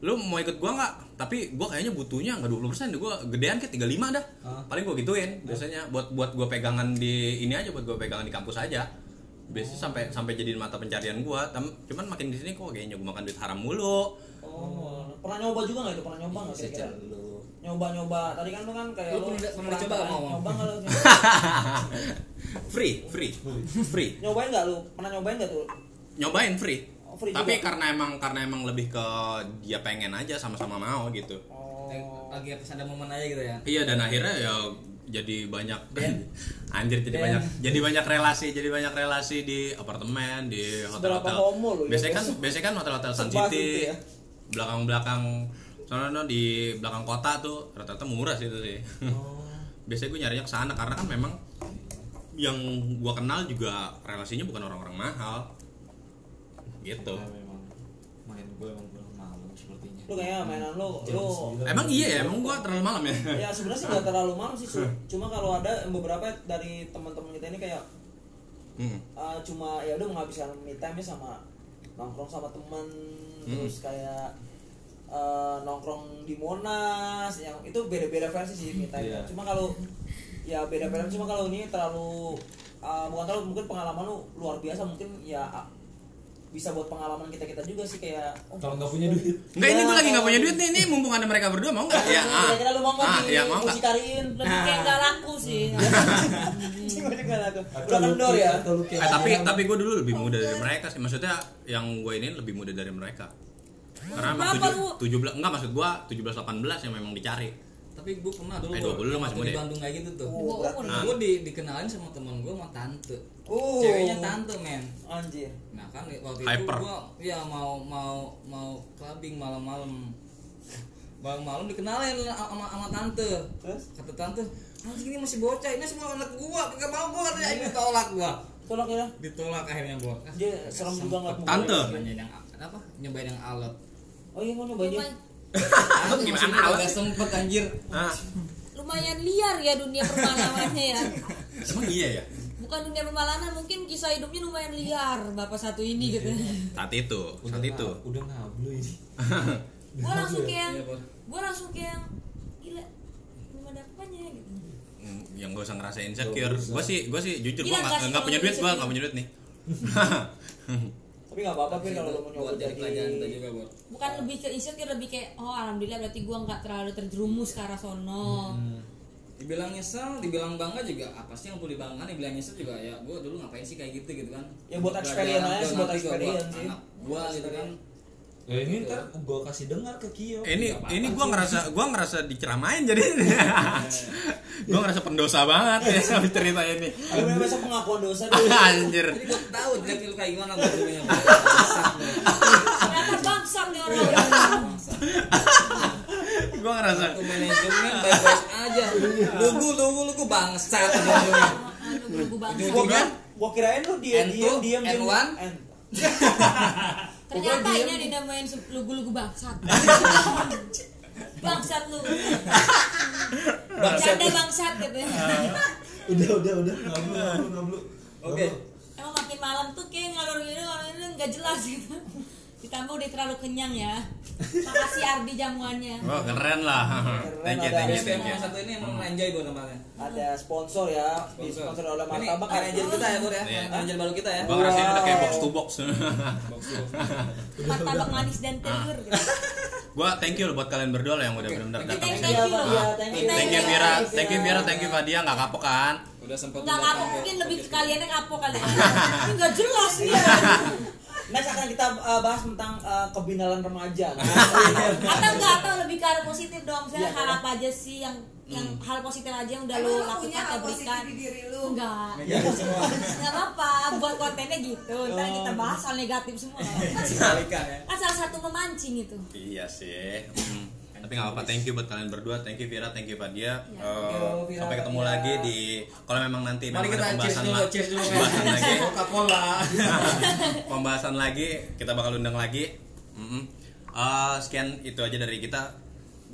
Speaker 2: lu mau ikut gua nggak tapi gua kayaknya butuhnya nggak 20% persen gua gedean ke 35 dah
Speaker 5: Ah.
Speaker 2: paling gua gituin biasanya buat buat gua pegangan di ini aja buat gua pegangan di kampus aja biasanya sampai sampai jadi mata pencarian gua Tam- cuman makin di sini kok kayaknya gua makan duit haram mulu
Speaker 4: oh pernah nyoba juga nggak itu pernah nyoba nggak kira-kira
Speaker 5: Secelup.
Speaker 4: nyoba nyoba tadi kan lu kan kayak
Speaker 3: Lu pernah- pernah
Speaker 4: perantara. kan?
Speaker 3: coba nggak, Mama?
Speaker 4: nyoba nggak lu
Speaker 2: free free free
Speaker 4: nyobain nggak lu pernah nyobain nggak tuh
Speaker 2: nyobain free
Speaker 4: Oh, free
Speaker 2: tapi
Speaker 4: juga.
Speaker 2: karena emang karena emang lebih ke dia pengen aja sama-sama mau gitu
Speaker 4: oh
Speaker 3: lagi pas ada momen aja gitu ya
Speaker 2: Iya dan akhirnya ya jadi banyak
Speaker 4: Iya.
Speaker 3: Dan-
Speaker 2: anjir jadi
Speaker 3: dan-
Speaker 2: banyak jadi banyak relasi jadi banyak relasi di apartemen di hotel hotel
Speaker 4: Seberapa homo lu ya,
Speaker 2: biasanya kan
Speaker 4: guys?
Speaker 2: biasanya kan hotel hotel Sun
Speaker 4: Sebas itu
Speaker 2: City
Speaker 4: ya.
Speaker 2: belakang belakang soalnya di belakang kota tuh rata-rata murah sih itu sih
Speaker 4: Oh.
Speaker 2: biasanya gue nyarinya ke sana karena kan memang yang gua kenal juga relasinya bukan orang-orang mahal gitu
Speaker 5: Nah, memang main gue emang pulang malam sepertinya
Speaker 4: lu kayaknya mainan lu lu
Speaker 2: emang iya ya emang gua terlalu malam ya
Speaker 4: ya sebenarnya sih nggak terlalu malu sih Su. cuma kalau ada beberapa dari teman-teman kita ini kayak
Speaker 2: Hmm.
Speaker 4: eh, cuma ya udah menghabiskan me time sama nongkrong sama teman
Speaker 5: Hmm.
Speaker 4: terus kayak eh, nongkrong di Monas yang itu beda-beda versi sih me time
Speaker 5: Iya.
Speaker 4: cuma kalau ya beda-beda cuma kalau ini terlalu eh, bukan terlalu mungkin pengalaman lu luar biasa mungkin ya ah, bisa buat pengalaman kita kita juga sih kayak oh,
Speaker 5: kalau nggak punya duit
Speaker 2: Enggak ini gue
Speaker 4: Ya,
Speaker 2: lagi nggak punya
Speaker 4: kalau-
Speaker 2: duit nih, ini mumpung ada mereka berdua mau nggak? Ya, ah,
Speaker 4: Iya, kira-kira lu mau nggak
Speaker 2: ah,
Speaker 4: di
Speaker 2: ya mau nggak?
Speaker 4: musikariin?
Speaker 1: lebih kayak nggak laku sih
Speaker 4: Hmm. Anjing, gua juga laku.
Speaker 5: Atau
Speaker 4: udah
Speaker 5: lu-
Speaker 4: kendor ya
Speaker 5: atau lu kayak
Speaker 2: Eh, tapi
Speaker 5: orang-
Speaker 2: tapi gue dulu lebih muda dari mereka sih, maksudnya yang gue ini lebih muda dari mereka. Karena emang
Speaker 1: Berapa
Speaker 2: tujuh, 17 enggak maksud gue 17 18 yang memang dicari.
Speaker 3: tapi gue pernah dulu
Speaker 2: Eh, 20 lu
Speaker 3: waktu
Speaker 2: masih muda
Speaker 3: di
Speaker 2: ya?
Speaker 3: Bandung kayak gitu tuh
Speaker 1: Gua
Speaker 4: berat
Speaker 1: pun.
Speaker 2: Ah.
Speaker 3: gue di, dikenalin sama teman gue sama tante
Speaker 4: Oh.
Speaker 3: ceweknya tante men
Speaker 4: Anjir.
Speaker 3: nah kan waktu
Speaker 2: Hyper.
Speaker 3: itu gue ya mau mau mau clubbing malam-malam malam-malam dikenalin lah sama sama tante
Speaker 4: Terus?
Speaker 3: kata tante anjing ini masih bocah ini semua anak gua kagak mau gua katanya ini tolak gua
Speaker 4: Tolak ya.
Speaker 3: ditolak akhirnya gua Ah,
Speaker 4: Dia serem juga nggak
Speaker 3: sempet
Speaker 4: mau.
Speaker 2: Tante?
Speaker 3: nyobain yang apa nyobain yang alot
Speaker 4: Oh iya mau nyobain dia.
Speaker 1: Lumayan,
Speaker 3: Anjing,
Speaker 2: Gimana
Speaker 3: maksudnya
Speaker 2: alot
Speaker 3: kagak
Speaker 2: sih?
Speaker 3: sempet anjir
Speaker 2: Ah,
Speaker 1: lumayan liar ya dunia permalanannya ya.
Speaker 2: emang iya ya?
Speaker 1: Bukan dunia permalanan, mungkin kisah hidupnya lumayan liar bapak satu ini
Speaker 4: Iya,
Speaker 1: gitu.
Speaker 2: Saat itu, saat itu.
Speaker 5: na- udah nablu ini
Speaker 1: Gua langsung kayak yang,
Speaker 3: Iya, Pak.
Speaker 1: gua langsung kayak yang, gila belum ada apanya gitu.
Speaker 2: Hmm, yang gak usah ngerasa insecure.
Speaker 5: Gak usah.
Speaker 2: Gue sih, gue sih
Speaker 4: Iya,
Speaker 2: jujur gue
Speaker 1: Gila,
Speaker 2: nggak
Speaker 1: nggak
Speaker 2: nggak
Speaker 1: selalu
Speaker 2: punya duit, gue
Speaker 1: insecure.
Speaker 2: nggak punya duit nih.
Speaker 4: Tapi nggak apa-apa Fir kalau lu mau nyoba
Speaker 3: buat jadi pelajaran kita juga buat
Speaker 1: Bukan lebih ke insecure, lebih kayak oh alhamdulillah berarti gua nggak terlalu terjerumus ke arah
Speaker 5: Oh.
Speaker 1: sono.
Speaker 5: Hmm.
Speaker 3: dibilang nyesel dibilang bangga juga apa sih yang perlu dibanggain dibilang nyesel juga ya gua dulu ngapain sih kayak gitu gitu kan
Speaker 4: Ya, buat experience aja sih, buat experience sih.
Speaker 3: anak gua gitu kan
Speaker 5: ya ini ntar gua kasih dengar ke Kio
Speaker 2: ini
Speaker 3: Gak apa-apa
Speaker 2: ini gue ngerasa gue ngerasa diceramain jadi gue ngerasa pendosa banget ya sama cerita ini.
Speaker 4: Ayo bener besok pengakuan dosa dulu.
Speaker 2: Anjir.
Speaker 3: jadi gua tahu jelek lu kayak gimana gua dulunya Gua
Speaker 1: Ternyata bangsat nih orang.
Speaker 2: Gue ngerasa
Speaker 3: satu manajemen baik-baik aja lugu lugu lugu bangsat dulunya
Speaker 1: Aduh, gua bangsat.
Speaker 4: Gua,
Speaker 3: Ujung-ujungnya
Speaker 4: gua kirain lu dia
Speaker 3: N2,
Speaker 4: diam diam diam.
Speaker 3: N1.
Speaker 4: N.
Speaker 1: Ternyata ini ada dinamain se- lugu-lugu bangsat. bangsat lu. Bercanda bangsat gitu.
Speaker 5: udah udah udah nablu nablu nablu
Speaker 3: oke
Speaker 1: Emang makin malam tuh kayak ngalur gitu, ngalur gitu nggak jelas gitu. Ditambah udah terlalu kenyang ya. Makasih Ardi jamuannya.
Speaker 2: Wah keren lah. Thank you,
Speaker 4: ada
Speaker 2: thank you,
Speaker 3: SPM
Speaker 2: thank you.
Speaker 3: yang satu ini emang anjay buat tempatnya
Speaker 4: Ada sponsor ya, disponsor oleh
Speaker 3: ini
Speaker 4: Martabak.
Speaker 3: manajer kita ya Bur ya
Speaker 2: Iya.
Speaker 3: manajer baru kita ya
Speaker 2: Gue ngerasain udah kayak box to box.
Speaker 1: Martabak manis dan telur. Gitu.
Speaker 2: gue thank you loh buat kalian berdua loh yang udah benar-benar
Speaker 3: thank you,
Speaker 2: datang.
Speaker 1: Thank
Speaker 2: sini.
Speaker 1: you.
Speaker 4: Iya, iya, thank you. Iya.
Speaker 2: Thank you Vira, thank you Vira, thank you Fadia nggak kapok kan?
Speaker 3: udah sempat
Speaker 1: Enggak apa
Speaker 3: datang ke
Speaker 1: mungkin lebih ke
Speaker 3: podcast
Speaker 1: kalian yang apa kali. ya. Ini nggak jelas ya.
Speaker 4: Next akan kita uh, bahas tentang uh, kebinalan remaja.
Speaker 1: Atau enggak atau lebih ke arah positif dong. Saya
Speaker 4: Iya,
Speaker 1: harap aja sih yang yang hal positif aja yang udah
Speaker 6: Emang
Speaker 1: lo
Speaker 6: lu
Speaker 1: lakukan
Speaker 6: punya hal
Speaker 1: atau
Speaker 6: positif
Speaker 1: berikan.
Speaker 6: di diri lu
Speaker 1: Enggak.
Speaker 3: ini. Megang semua
Speaker 1: nggak apa-apa buat kontennya gitu ntar kita bahas hal negatif semua
Speaker 3: dikalikan ya
Speaker 1: kan salah satu memancing itu
Speaker 2: Iya sih. Mm. Tapi nggak apa-apa, thank you buat kalian berdua, thank you Vira, thank you Fadia.
Speaker 1: Ya.
Speaker 2: Eh,
Speaker 4: Yo, Vira,
Speaker 2: sampai ketemu
Speaker 4: Fadia.
Speaker 2: lagi di kalau memang nanti memang
Speaker 3: Mari kita
Speaker 2: ada
Speaker 3: cheers
Speaker 2: pembahasan
Speaker 3: dulu,
Speaker 2: la-
Speaker 3: cheers dulu
Speaker 2: pembahasan lagi,
Speaker 3: kan. Coca-Cola.
Speaker 2: pembahasan lagi kita bakal undang lagi. Mm-mm. Eh, sekian itu aja dari kita.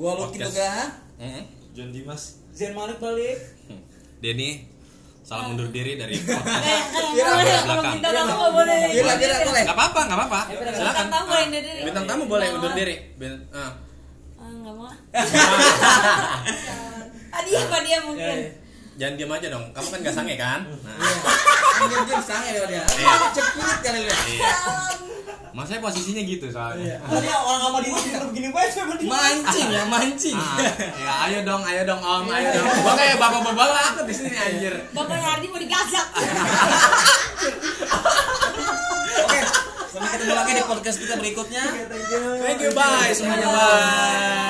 Speaker 3: Gua lu gitu kan.
Speaker 2: Mm-mm.
Speaker 5: John Dimas
Speaker 4: Zen Malik balik.
Speaker 2: Hmm. Denny, salam undur diri dari podcast.
Speaker 1: eh eh,
Speaker 3: Iya,
Speaker 1: boleh
Speaker 2: iya,
Speaker 1: kalau
Speaker 2: belakang.
Speaker 1: minta tamu nggak boleh
Speaker 3: Gila,
Speaker 1: iya.
Speaker 3: gila, boleh.
Speaker 2: Gak apa-apa, gak apa-apa.
Speaker 1: Eh, bintang
Speaker 2: Silakan.
Speaker 1: tamu boleh dari
Speaker 2: Bintang tamu boleh undur diri. Bin- ah.
Speaker 1: Ah, nggak mau tadi apa dia mungkin
Speaker 2: Jangan diem aja dong. Kamu kan gak sange kan? Nah.
Speaker 3: Anjir dia sange dia dia.
Speaker 2: Iya.
Speaker 3: Cepet kali lu.
Speaker 2: Iya. Maksudnya posisinya gitu
Speaker 1: Iya.
Speaker 2: soalnya.
Speaker 4: Tadi orang sama dia tidur begini gue sama dia.
Speaker 3: Mancing ya, mancing.
Speaker 2: Ah, ya ayo dong, ayo dong Om,
Speaker 1: Iya.
Speaker 2: ayo dong. Gua kayak bapak berbal aku di sini anjir.
Speaker 1: bapak Hardi mau digazak
Speaker 3: Oke, sampai ketemu lagi di podcast kita berikutnya.
Speaker 1: Iya.
Speaker 2: Thank you bye semuanya bye.
Speaker 1: Eh,